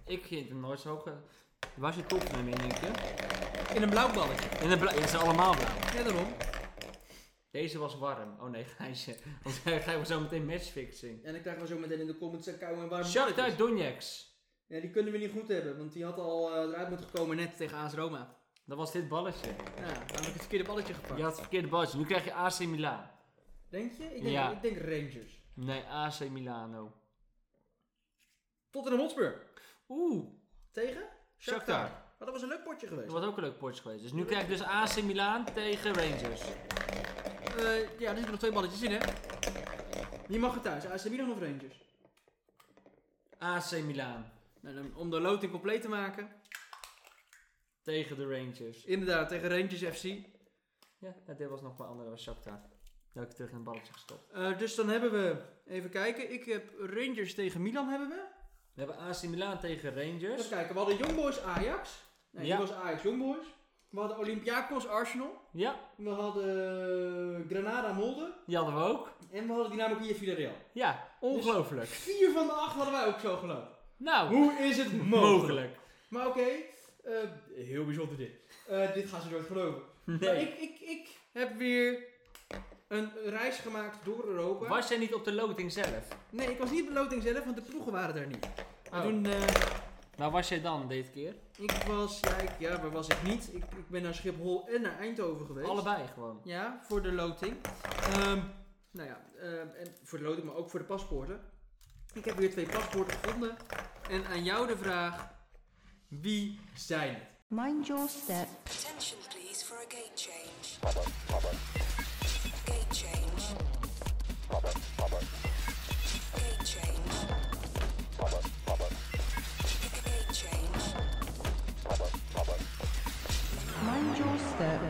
[SPEAKER 2] Ik vind hem nooit zo hoog. Waar zit Tottenham in, denk je?
[SPEAKER 1] In een blauw balletje.
[SPEAKER 2] In de bla- ja, ze zijn allemaal blauw.
[SPEAKER 1] Ja, daarom.
[SPEAKER 2] Deze was warm. Oh nee, [laughs] Gijsje. Want dan krijgen we zo meteen matchfixing.
[SPEAKER 1] En dan krijgen we zo meteen in de comments een koude en warme
[SPEAKER 2] Shakhtar
[SPEAKER 1] balletjes.
[SPEAKER 2] Donetsk.
[SPEAKER 1] Ja, die kunnen we niet goed hebben. Want die had al eh, eruit moeten komen net tegen AS Roma.
[SPEAKER 2] Dat was dit balletje.
[SPEAKER 1] Ja, dan heb ik het verkeerde balletje gepakt.
[SPEAKER 2] Je had het verkeerde balletje. Nu krijg je AC Milan.
[SPEAKER 1] Denk je? Ik denk,
[SPEAKER 2] Ja.
[SPEAKER 1] ik denk Rangers.
[SPEAKER 2] Nee, AC Milano.
[SPEAKER 1] Tottenham Hotspur.
[SPEAKER 2] Oeh,
[SPEAKER 1] Tegen?
[SPEAKER 2] Shakhtar.
[SPEAKER 1] Maar dat was een leuk potje geweest.
[SPEAKER 2] dat was ook een leuk potje geweest. Dus nu krijg je dus AC Milan tegen Rangers.
[SPEAKER 1] Eh, ja, er zitten nog twee balletjes in hè. Wie mag er thuis? AS Milan of Rangers?
[SPEAKER 2] AC Milan
[SPEAKER 1] Nou, dan, om de loting compleet te maken.
[SPEAKER 2] tegen de Rangers.
[SPEAKER 1] Inderdaad, tegen Rangers FC.
[SPEAKER 2] Ja, ja, dit was nog mijn andere, was Shakhtar. Dat heb ik terug in het balletje gestopt.
[SPEAKER 1] Eh, dus dan hebben we, even kijken, ik heb Rangers tegen Milan hebben we.
[SPEAKER 2] We hebben AC Milan tegen Rangers.
[SPEAKER 1] Even kijken, we hadden Youngboys Ajax. Nee,
[SPEAKER 2] Ja.
[SPEAKER 1] hier was Ajax Youngboys. We hadden Olympiakos Arsenal.
[SPEAKER 2] Ja,
[SPEAKER 1] We hadden eh, Granada Molde.
[SPEAKER 2] die hadden we ook.
[SPEAKER 1] En we hadden Dynamo Kiev Villarreal.
[SPEAKER 2] Ja,
[SPEAKER 1] Dus-
[SPEAKER 2] ongelooflijk.
[SPEAKER 1] Vier van de acht hadden wij ook zo gelopen.
[SPEAKER 2] Nou,
[SPEAKER 1] Hoe is het mogelijk?
[SPEAKER 2] mogelijk.
[SPEAKER 1] Maar oké, eh, heel bijzonder dit. Eh, dit gaan ze nooit geloven. Maar
[SPEAKER 2] Nee.
[SPEAKER 1] ik, ik, ik heb weer een reis gemaakt door Europa.
[SPEAKER 2] Was jij niet op de loting zelf?
[SPEAKER 1] Nee, ik was niet op de loting zelf, want de ploegen waren daar niet. We
[SPEAKER 2] Oh.
[SPEAKER 1] doen eh,
[SPEAKER 2] Waar was jij dan deze keer?
[SPEAKER 1] Ik was, ja, ik, ja waar was ik niet? Ik, ik ben naar Schiphol en naar Eindhoven geweest.
[SPEAKER 2] Allebei gewoon.
[SPEAKER 1] Ja, voor de loting. Ehm, nou ja, ehm, en voor de loting, maar ook voor de paspoorten. Ik heb weer twee paspoorten gevonden. En aan jou de vraag, wie zijn het?
[SPEAKER 5] Mind your step.
[SPEAKER 6] Attention please for a gate change. Gate change. Gate change. Gate change.
[SPEAKER 5] Mind your step.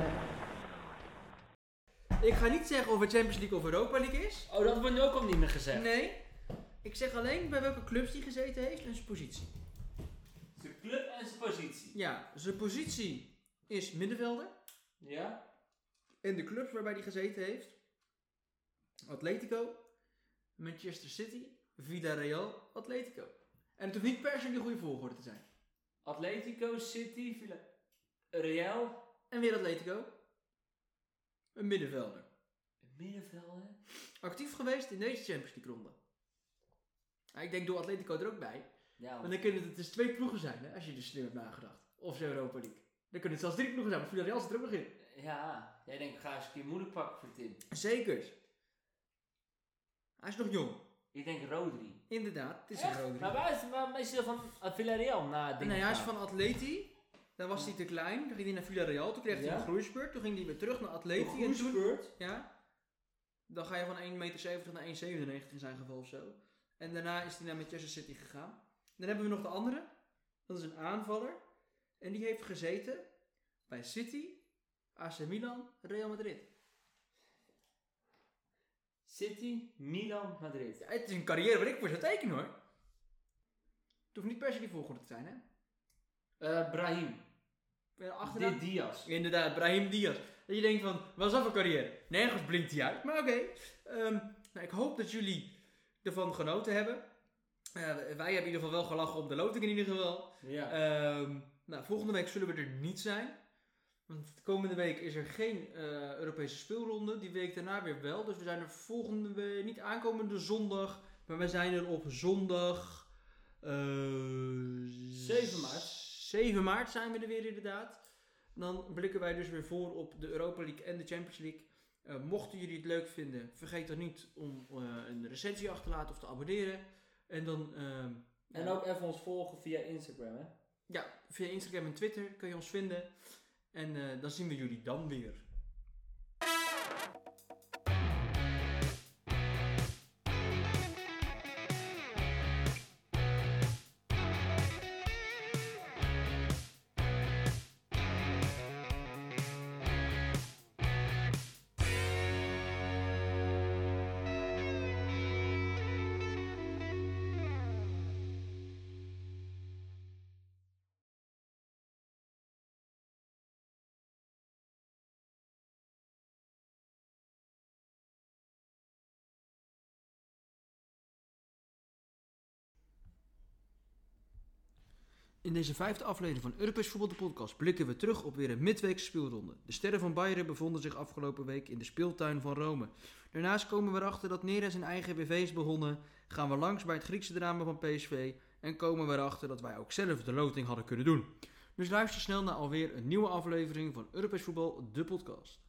[SPEAKER 1] Ik ga niet zeggen of het Champions League of Europa League is.
[SPEAKER 2] Oh, dat wordt nu ook al niet meer gezegd.
[SPEAKER 1] Nee. Ik zeg alleen bij welke clubs hij gezeten heeft en zijn positie.
[SPEAKER 2] Zijn club en zijn positie.
[SPEAKER 1] Ja, zijn positie is middenvelder.
[SPEAKER 2] Ja?
[SPEAKER 1] En de clubs waarbij hij gezeten heeft: Atletico, Manchester City, Villarreal, Atletico. En het hoeft niet per se de goede volgorde te zijn.
[SPEAKER 2] Atletico, City, Villa... Real.
[SPEAKER 1] En weer Atletico. Een middenvelder.
[SPEAKER 2] Middenvelder.
[SPEAKER 1] Actief geweest in deze Champions League ronde. Ja, ik denk door Atletico er ook bij.
[SPEAKER 2] Ja,
[SPEAKER 1] Want dan kunnen het dus twee ploegen zijn, hè, als je er slim hebt nagedacht. Of zo Europa League. Dan kunnen het zelfs drie ploegen zijn, want Villarreal zit er ook nog in.
[SPEAKER 2] ja. Jij denkt, ga eens een keer moeilijk pakken voor Tim.
[SPEAKER 1] Zeker. Hij is nog jong.
[SPEAKER 2] Ik denk Rodri.
[SPEAKER 1] Inderdaad, het is een Rodri.
[SPEAKER 2] Maar waar is, waar is hij van eh, Villarreal na dingen
[SPEAKER 1] Nee, hij is
[SPEAKER 2] gaan?
[SPEAKER 1] van Atleti. Daar was hij te klein. Toen ging hij naar Villarreal. Toen kreeg hij
[SPEAKER 2] Ja.
[SPEAKER 1] een groeisbeurt. Toen ging hij weer terug naar Atleti.
[SPEAKER 2] Een
[SPEAKER 1] en toen-
[SPEAKER 2] groeisbeurt?
[SPEAKER 1] Ja. Dan ga je van 1,70 meter naar 1,97 in zijn geval of zo. En daarna is hij naar Manchester City gegaan. Dan hebben we nog de andere. Dat is een aanvaller. En die heeft gezeten bij City, AC Milan, Real Madrid.
[SPEAKER 2] City, Milan, Madrid.
[SPEAKER 1] Ja, het is een carrière waar ik voor zou tekenen hoor. Het hoeft niet per se die volgorde te zijn hè.
[SPEAKER 2] Eh Brahim.
[SPEAKER 1] Eh, Achteraan
[SPEAKER 2] Dit Diaz.
[SPEAKER 1] Inderdaad, Brahim Diaz. Dat je denkt van, wat is dat voor carrière? Nergens blinkt hij uit, maar oké. Ehm, nou, ik hoop dat jullie ervan genoten hebben. Eh, wij hebben in ieder geval wel gelachen om de loting in ieder geval.
[SPEAKER 2] Ja.
[SPEAKER 1] Ehm, nou, volgende week zullen we er niet zijn. Want de komende week is er geen eh, Europese speelronde. Die week daarna weer wel. Dus we zijn er volgende week, niet aankomende zondag. Maar we zijn er op zondag... eh,
[SPEAKER 2] 7 maart.
[SPEAKER 1] 7 maart zijn we er weer inderdaad. Dan blikken wij dus weer voor op de Europa League en de Champions League. Eh, mochten jullie het leuk vinden, vergeet dan niet om eh, een recensie achter te laten of te abonneren. En dan... ehm,
[SPEAKER 2] En ook even ons volgen via Instagram, hè?
[SPEAKER 1] ja, via Instagram en Twitter kun je ons vinden. En eh, dan zien we jullie dan weer. In deze vijfde aflevering van Europees Voetbal de Podcast blikken we terug op weer een midweekse speelronde. De sterren van Bayern bevonden zich afgelopen week in de speeltuin van Rome. Daarnaast komen we erachter dat Neres een eigen WV is begonnen, gaan we langs bij het Griekse drama van PSV en komen we erachter dat wij ook zelf de loting hadden kunnen doen. Dus luister snel naar alweer een nieuwe aflevering van Europees Voetbal de Podcast.